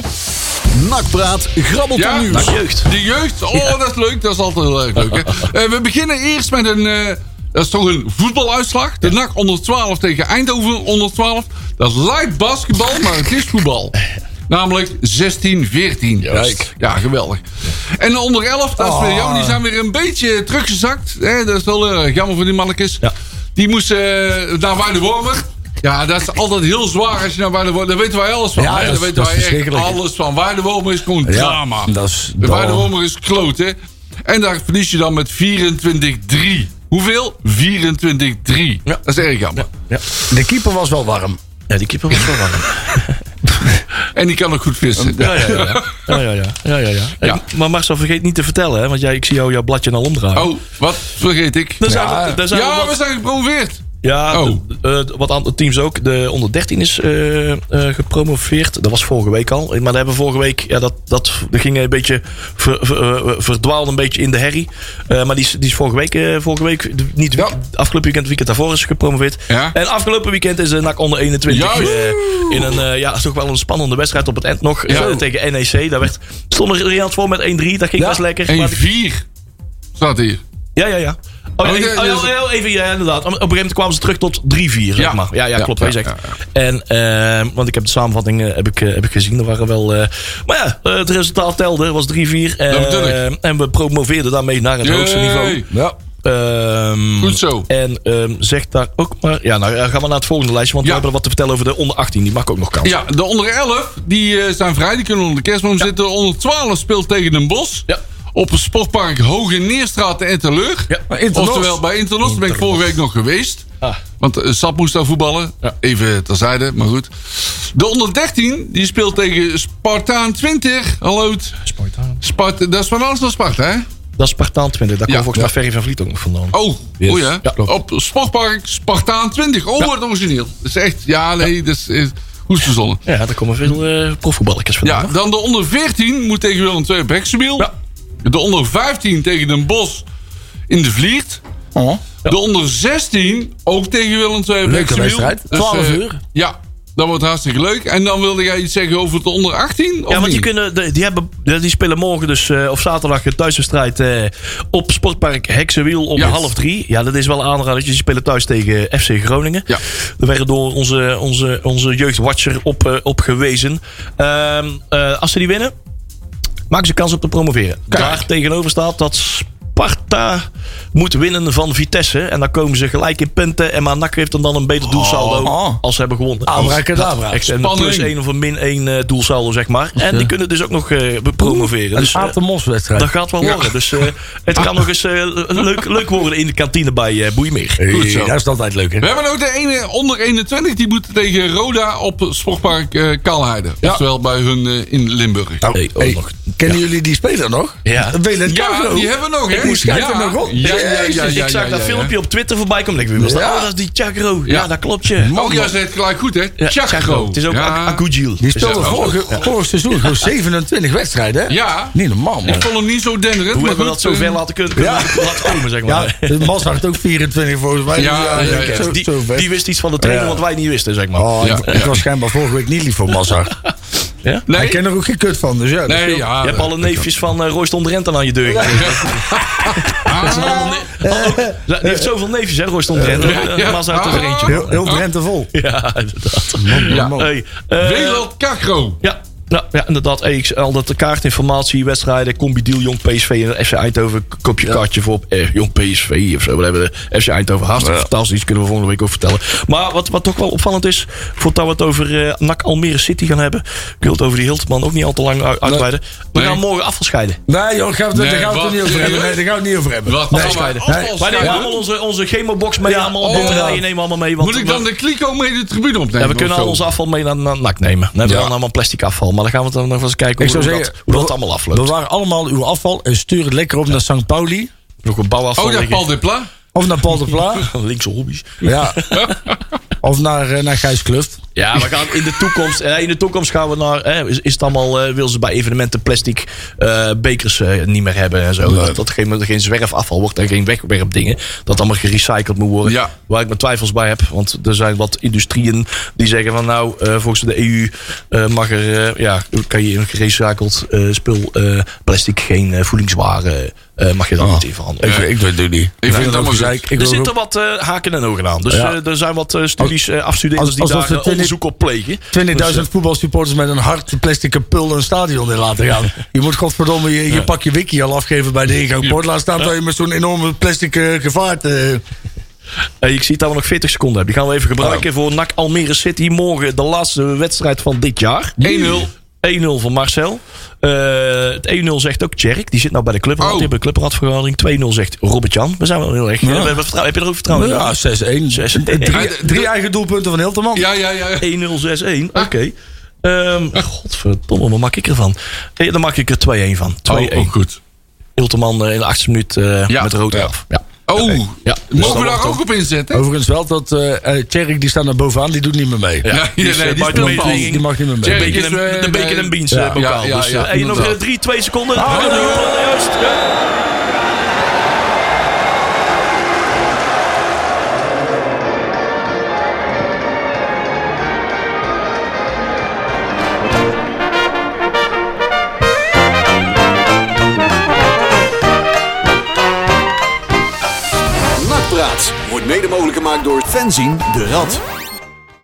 Speaker 1: Nakpraat, grabbelt
Speaker 3: Ja,
Speaker 1: nieuws.
Speaker 3: nou,
Speaker 2: Jeugd.
Speaker 3: De jeugd, oh dat is leuk, dat is altijd heel erg
Speaker 4: [LAUGHS]
Speaker 3: leuk. Hè? Eh, we beginnen eerst met een, eh, dat is toch een voetbaluitslag. De NAC onder 12 tegen Eindhoven onder 12. Dat lijkt basketbal, maar het is voetbal. Namelijk 16-14.
Speaker 4: Juist.
Speaker 3: Ja, geweldig. En de onder 11, dat
Speaker 4: Oh.
Speaker 3: is weer jou, die zijn weer een beetje teruggezakt. Hè? Dat is wel heel erg jammer voor die mannetjes.
Speaker 2: Ja.
Speaker 3: Die moesten eh, naar Waardenwormer. Ja, dat is altijd heel zwaar als je naar Waardenwormer... Daar weten wij alles van. hè?
Speaker 4: Ja, dat
Speaker 3: Daar
Speaker 4: is-
Speaker 3: weten
Speaker 4: dat is
Speaker 3: wij echt
Speaker 4: verschrikkelijk.
Speaker 3: alles van. Waardenwormer is gewoon
Speaker 4: Ja,
Speaker 3: drama.
Speaker 4: dat is-
Speaker 3: De
Speaker 4: dat-
Speaker 3: Waardenwormer is kloot, hè. En daar verlies je dan met 24-3. Hoeveel? 24-3. Dat is erg jammer.
Speaker 4: De keeper was wel warm.
Speaker 2: Ja, die keeper was wel
Speaker 3: [LAUGHS]
Speaker 2: warm.
Speaker 3: En die kan ook goed vissen.
Speaker 2: Ja, ja, ja. ja, ja, ja. ja, ja, ja. Hey,
Speaker 3: Ja.
Speaker 2: Maar Marcel, vergeet niet te vertellen, hè, want jij, ik zie jou jouw bladje al omdraaien.
Speaker 3: Oh, wat vergeet ik?
Speaker 2: Daar zijn,
Speaker 4: Ja.
Speaker 2: we, daar zijn we
Speaker 3: Ja,
Speaker 2: wat-
Speaker 3: we zijn gepromoveerd.
Speaker 2: Ja,
Speaker 3: Oh.
Speaker 2: de- eh, wat andere teams ook. De onder 13 is eh, eh, gepromoveerd. Dat was vorige week al. Maar daar hebben we vorige week. Ja, dat, dat ging een beetje. Ver, ver- eh, verdwaalde een beetje in de herrie. Eh, maar die is, die is vorige week. eh, vorige week de- niet
Speaker 3: Ja.
Speaker 2: week- afgelopen weekend, het weekend daarvoor is gepromoveerd.
Speaker 3: Ja.
Speaker 2: En afgelopen weekend is de NAC onder 21.
Speaker 3: Juist.
Speaker 2: eh, in een. eh, ja, toch wel een spannende wedstrijd op het eind nog.
Speaker 3: Ja.
Speaker 2: eh, tegen NEC. Daar werd. Stond er Riaans voor met 1-3. Dat ging
Speaker 4: Ja.
Speaker 2: best lekker. Maar
Speaker 3: 1-4 staat hier.
Speaker 2: ja, ja, ja. Oh, ja,
Speaker 3: Oh,
Speaker 2: even,
Speaker 3: ja,
Speaker 2: oh, ja,
Speaker 3: dus-
Speaker 2: heel even, ja, inderdaad. Op een gegeven moment kwamen ze terug tot 3-4,
Speaker 3: Ja.
Speaker 2: zeg maar. Ja, ja,
Speaker 3: Ja,
Speaker 2: klopt, wat
Speaker 3: ja,
Speaker 2: je zegt. En, ehm, want ik heb de samenvatting eh, heb ik, eh, heb ik gezien. Er waren wel... eh, maar ja, eh, het resultaat telde. was 3-4. eh,
Speaker 3: bedoel
Speaker 2: en we promoveerden daarmee naar het hoogste
Speaker 3: Yay.
Speaker 2: niveau.
Speaker 4: Ja.
Speaker 2: Ehm,
Speaker 3: Goed zo.
Speaker 2: En ehm zeg daar ook maar... Ja, nou, ja, gaan we naar het volgende lijstje. Want
Speaker 3: Ja.
Speaker 2: we hebben wat te vertellen over de onder 18. Die mag ook nog kans.
Speaker 3: Ja, de onder 11, die eh, zijn vrij, die kunnen onder de kerstboom zitten. De onder 12 speelt tegen Den Bosch.
Speaker 2: Ja.
Speaker 3: Op het sportpark Hoge Neerstraat en Interleur.
Speaker 2: Ja,
Speaker 4: maar Interlos.
Speaker 3: Oftewel bij Interlos, daar ben ik vorige week nog geweest.
Speaker 2: Ah.
Speaker 3: Want eh, Sap moest daar voetballen. Even terzijde, maar goed. De onder 13, die speelt tegen Spartaan 20. Hallo. het.
Speaker 2: Spartaan.
Speaker 3: Spart dat is van alles naar Sparta, hè?
Speaker 2: Dat is Spartaan 20. Daar
Speaker 3: Ja.
Speaker 2: komt volgens mij Ferry van Vliet ook nog vandaan.
Speaker 3: Oh,
Speaker 2: Yes.
Speaker 3: oh ja.
Speaker 2: Ja, klopt.
Speaker 3: Op Sportpark Spartaan 20. Oh, wat origineel. Dat is echt, ja, nee, dat is, is goed verzonnen.
Speaker 2: Ja, daar komen veel eh profvoetballers vandaan.
Speaker 3: Ja,
Speaker 2: hoor.
Speaker 3: dan de onder 14 moet tegen Willem II op Heksenbiel. De onder 15 tegen Den Bos in de Vliert.
Speaker 4: Oh.
Speaker 3: De onder 16 ook tegen Willem II op
Speaker 4: Leuke
Speaker 3: Heksenbiel.
Speaker 4: wedstrijd. 12
Speaker 3: eh,
Speaker 4: uur.
Speaker 3: Ja, dat wordt hartstikke leuk. En dan wilde jij iets zeggen over de onder 18? of
Speaker 2: Ja, want die,
Speaker 3: niet?
Speaker 2: kunnen, de- die, hebben, de- die spelen morgen dus, eh, of zaterdag een thuiswedstrijd eh, op Sportpark Heksenwiel om
Speaker 3: Ja.
Speaker 2: half drie. Ja, dat is wel een aanradertje. Die spelen thuis tegen FC Groningen.
Speaker 3: Ja.
Speaker 2: Daar werden door onze, onze, onze jeugdwatcher op, eh, op gewezen. Ehm, eh, als ze die winnen, maken ze kans op te promoveren. Daar tegenover staat dat Sparta moet winnen van Vitesse. En dan komen ze gelijk in punten. En maar NAC heeft dan, dan een beter doelsaldo
Speaker 4: Oh.
Speaker 2: als ze hebben gewonnen.
Speaker 4: Abracadabra.
Speaker 2: Echt een
Speaker 3: Spanning.
Speaker 2: plus 1 of een min 1 eh doelsaldo, zeg maar. En die kunnen dus ook nog eh, be- promoveren.
Speaker 4: Een
Speaker 2: Dus, eh,
Speaker 4: Atemos-wedstrijd.
Speaker 2: dat gaat wel
Speaker 3: Ja.
Speaker 2: worden. Dus eh, het kan nog eens eh, leuk, leuk worden in de kantine bij eh Boeimeer.
Speaker 3: Goed zo.
Speaker 4: Hey, dat is altijd leuk, hè?
Speaker 3: We hebben ook de ene onder 21. Die moeten tegen Roda op het Sportpark eh Kalheide. Oftewel bij hun eh, in Limburg.
Speaker 4: Nou,
Speaker 2: Hey, oh,
Speaker 4: hey,
Speaker 2: nog-
Speaker 4: kennen jullie die speler nog?
Speaker 2: Ja.
Speaker 4: Welen
Speaker 3: Ja,
Speaker 4: Cavro.
Speaker 3: die hebben we nog, hè?
Speaker 4: Ik moest kijken
Speaker 3: ja.
Speaker 4: nog op.
Speaker 3: Ja, ja, ja, ja,
Speaker 2: Jezus,
Speaker 3: ja,
Speaker 2: Dus ik zag
Speaker 3: ja,
Speaker 2: dat
Speaker 3: ja.
Speaker 2: filmpje op Twitter voorbij komen. Ik denk, wie was dat?
Speaker 4: Ja.
Speaker 2: Oh, dat is die Chagro. Ja,
Speaker 3: Ja.
Speaker 2: dat klopt je.
Speaker 3: Oh, jij zegt het gelijk goed, hè?
Speaker 2: Ja,
Speaker 3: Chagro.
Speaker 2: Het is ook
Speaker 3: Ja.
Speaker 2: ja. Agujil. Dus, eh,
Speaker 4: Die speelde
Speaker 3: Ja.
Speaker 4: vorige, vorig seizoen gewoon 27 wedstrijden, hè?
Speaker 3: Ja.
Speaker 4: Niet normaal,
Speaker 3: Ik
Speaker 4: man.
Speaker 3: vond hem niet zo denderend.
Speaker 2: Hoe
Speaker 3: maar
Speaker 2: hebben we
Speaker 3: goed,
Speaker 2: dat zo ver
Speaker 3: eh,
Speaker 2: laten kunnen kunnen laten komen, zeg
Speaker 4: Ja,
Speaker 2: [LAUGHS] maar.
Speaker 4: Ah, de Mas had ook 24 volgens mij.
Speaker 3: Ja,
Speaker 4: Dus
Speaker 3: ja, ja.
Speaker 4: Zo,
Speaker 2: Die,
Speaker 4: zo vet.
Speaker 2: die wist iets van de trainer
Speaker 4: Ja.
Speaker 2: wat wij niet wisten, zeg maar.
Speaker 4: Oh,
Speaker 3: Ja,
Speaker 4: ik, ik was schijnbaar vorige week niet lief voor Mazar. Hij
Speaker 3: Nee,
Speaker 4: kent er ook geen kut van, dus ja. dat
Speaker 3: nee
Speaker 4: scheelt.
Speaker 3: ja.
Speaker 2: Je hebt alle neefjes van eh Roy stond Renten aan je deur. Dat zijn
Speaker 3: Ah.
Speaker 2: allemaal ne- Oh, ook- die heeft zoveel neefjes, hè, Roy stond Renten.
Speaker 3: Ja, ja.
Speaker 2: Eh, Mazza heeft er
Speaker 3: Ah.
Speaker 2: eentje.
Speaker 4: Heel, heel Drenthe vol.
Speaker 2: Ja, inderdaad.
Speaker 3: Ja.
Speaker 4: Man.
Speaker 2: Hey, eh,
Speaker 3: Wereld Cagro.
Speaker 2: ja. Nou, ja, inderdaad. Hey, ik- al dat de kaartinformatie, wedstrijden, combi deal, jong PSV en FC Eindhoven. Koop je kaartje voor op eh, jong PSV of zo. We hebben de FC Eindhoven hartstikke fantastisch. Kunnen we volgende week ook vertellen. Maar wat, wat toch wel opvallend is, voordat we het over eh NAC Almere City gaan hebben. Ik wil het over die Hiltman ook niet al te lang u- uitweiden. We
Speaker 3: Nee.
Speaker 2: gaan morgen afscheiden.
Speaker 4: Nee joh, gaan we,
Speaker 3: Nee,
Speaker 4: daar gaan we het
Speaker 3: wat?
Speaker 4: er niet over hebben. Nee, daar gaan we het niet over hebben.
Speaker 3: Wat?
Speaker 4: nee,
Speaker 3: Afscheiden.
Speaker 4: Nee.
Speaker 2: Wij nemen allemaal onze, onze chemobox mee, allemaal
Speaker 3: oh,
Speaker 2: batterijen
Speaker 3: ja.
Speaker 2: nemen we allemaal mee. Want
Speaker 3: Moet ik dan de kliko mee de tribune opnemen?
Speaker 2: ja, we kunnen al
Speaker 3: of zo? Oh,
Speaker 2: ons afval mee naar, naar NAC nemen. Dan hebben we
Speaker 4: Ja.
Speaker 2: dan allemaal plastic afval. Maar dan gaan we dan nog eens kijken
Speaker 4: Ik
Speaker 2: hoe,
Speaker 4: zou
Speaker 2: hoe
Speaker 4: zeggen,
Speaker 2: dat, hoe dat
Speaker 4: we-
Speaker 2: allemaal afloopt.
Speaker 4: Bewaar allemaal uw afval en stuur het lekker op naar St. Pauli.
Speaker 2: Nog een bouwafval
Speaker 3: Oh, ja,
Speaker 2: liggen.
Speaker 3: Paul
Speaker 2: [LAUGHS]
Speaker 3: Depla.
Speaker 4: Of naar Paul de Pla.
Speaker 2: Linkse hobby's.
Speaker 4: Ja. Of naar, eh, naar Gijs Kluft.
Speaker 2: Ja, we gaan in de toekomst. eh, In de toekomst gaan we naar. eh, Is, is het allemaal. eh, wil ze bij evenementen plastic eh, bekers eh, niet meer hebben en zo? Dat, dat geen, dat geen zwerfafval wordt en geen wegwerpdingen. Dat allemaal gerecycled moet worden.
Speaker 3: Ja.
Speaker 2: Waar ik mijn twijfels bij heb. Want er zijn wat industrieën die zeggen van. Nou, eh, volgens de EU eh, mag er. eh, ja, kan je een gerecycled eh, spul. eh, plastic, geen eh, voedingswaren. eh, mag
Speaker 4: Ah.
Speaker 2: je dan niet in verhandelen.
Speaker 4: Ik, ik weet het niet.
Speaker 3: vind het allemaal
Speaker 4: ook
Speaker 3: goed.
Speaker 4: gezeik. Ik
Speaker 2: Er
Speaker 4: wil ook-
Speaker 2: zitten wat eh, haken en ogen aan. Dus
Speaker 4: Ja.
Speaker 2: eh, er zijn wat eh, studies, eh afstudeerders
Speaker 4: als-
Speaker 2: die
Speaker 4: alsof
Speaker 2: daar
Speaker 4: ze
Speaker 2: eh,
Speaker 4: 20
Speaker 2: onderzoek op plegen. Dus, eh,
Speaker 4: 20.000 voetbalsupporters met een hard plastic pul een stadion in laten [LAUGHS] gaan. Je moet godverdomme je, je pakje wiki al afgeven bij de ingang. Port laat staan dat je met zo'n enorme plastic eh, gevaart... eh,
Speaker 2: Eh, ik zie dat we nog 40 seconden hebben. Die gaan we even gebruiken
Speaker 3: Oh.
Speaker 2: voor NAC Almere City. Morgen de laatste wedstrijd van dit jaar.
Speaker 3: 1-0.
Speaker 2: 1-0 van Marcel. Eh, het 1-0 zegt ook Tjerk. Die zit nou bij de clubraad.
Speaker 3: Oh.
Speaker 2: Die hebben een clubraadvergadering. 2-0 zegt Robert-Jan. We zijn wel heel erg... eh, we hebben vertrouwen. Heb je er ook vertrouwen in?
Speaker 4: Oh ja,
Speaker 3: [LAUGHS]
Speaker 4: 6-1. Drie, drie eigen doelpunten van Hilterman.
Speaker 3: Ja, ja, ja.
Speaker 2: 1-0-6-1.
Speaker 3: Ah.
Speaker 2: Oké. Ehm, godverdomme, wat maak ik ervan? Eh, Dan maak ik er 2-1 van. 2-1.
Speaker 3: Oh, oh, goed.
Speaker 2: Hilterman eh, in de 8e minuut eh,
Speaker 3: Ja.
Speaker 2: met rood
Speaker 3: Ja.
Speaker 2: af. Ja.
Speaker 3: Oh,
Speaker 2: Ja. Dus
Speaker 3: mogen
Speaker 2: dan
Speaker 3: we daar
Speaker 2: wordt
Speaker 3: ook op inzetten?
Speaker 4: Overigens wel dat eh eh, Tjerk, die staat daar bovenaan, die doet niet meer mee.
Speaker 3: Ja, ja,
Speaker 2: dus,
Speaker 3: nee,
Speaker 2: eh,
Speaker 3: die
Speaker 2: buiten
Speaker 3: speelt
Speaker 2: meeting-
Speaker 3: vals.
Speaker 2: die-
Speaker 4: Die mag niet meer mee.
Speaker 3: Tjerk.
Speaker 2: Bacon
Speaker 3: is,
Speaker 2: en-
Speaker 3: eh,
Speaker 2: de Bacon en Beans eh, bokaal.
Speaker 3: ja, ja,
Speaker 2: dus, eh,
Speaker 3: ja,
Speaker 2: hey, nog
Speaker 3: inderdaad.
Speaker 2: 3, 2 seconden.
Speaker 4: Ah,
Speaker 2: Hallo,
Speaker 4: ja.
Speaker 2: juist.
Speaker 1: Nakpraat wordt mede mogelijk gemaakt door Fenzin de Rad.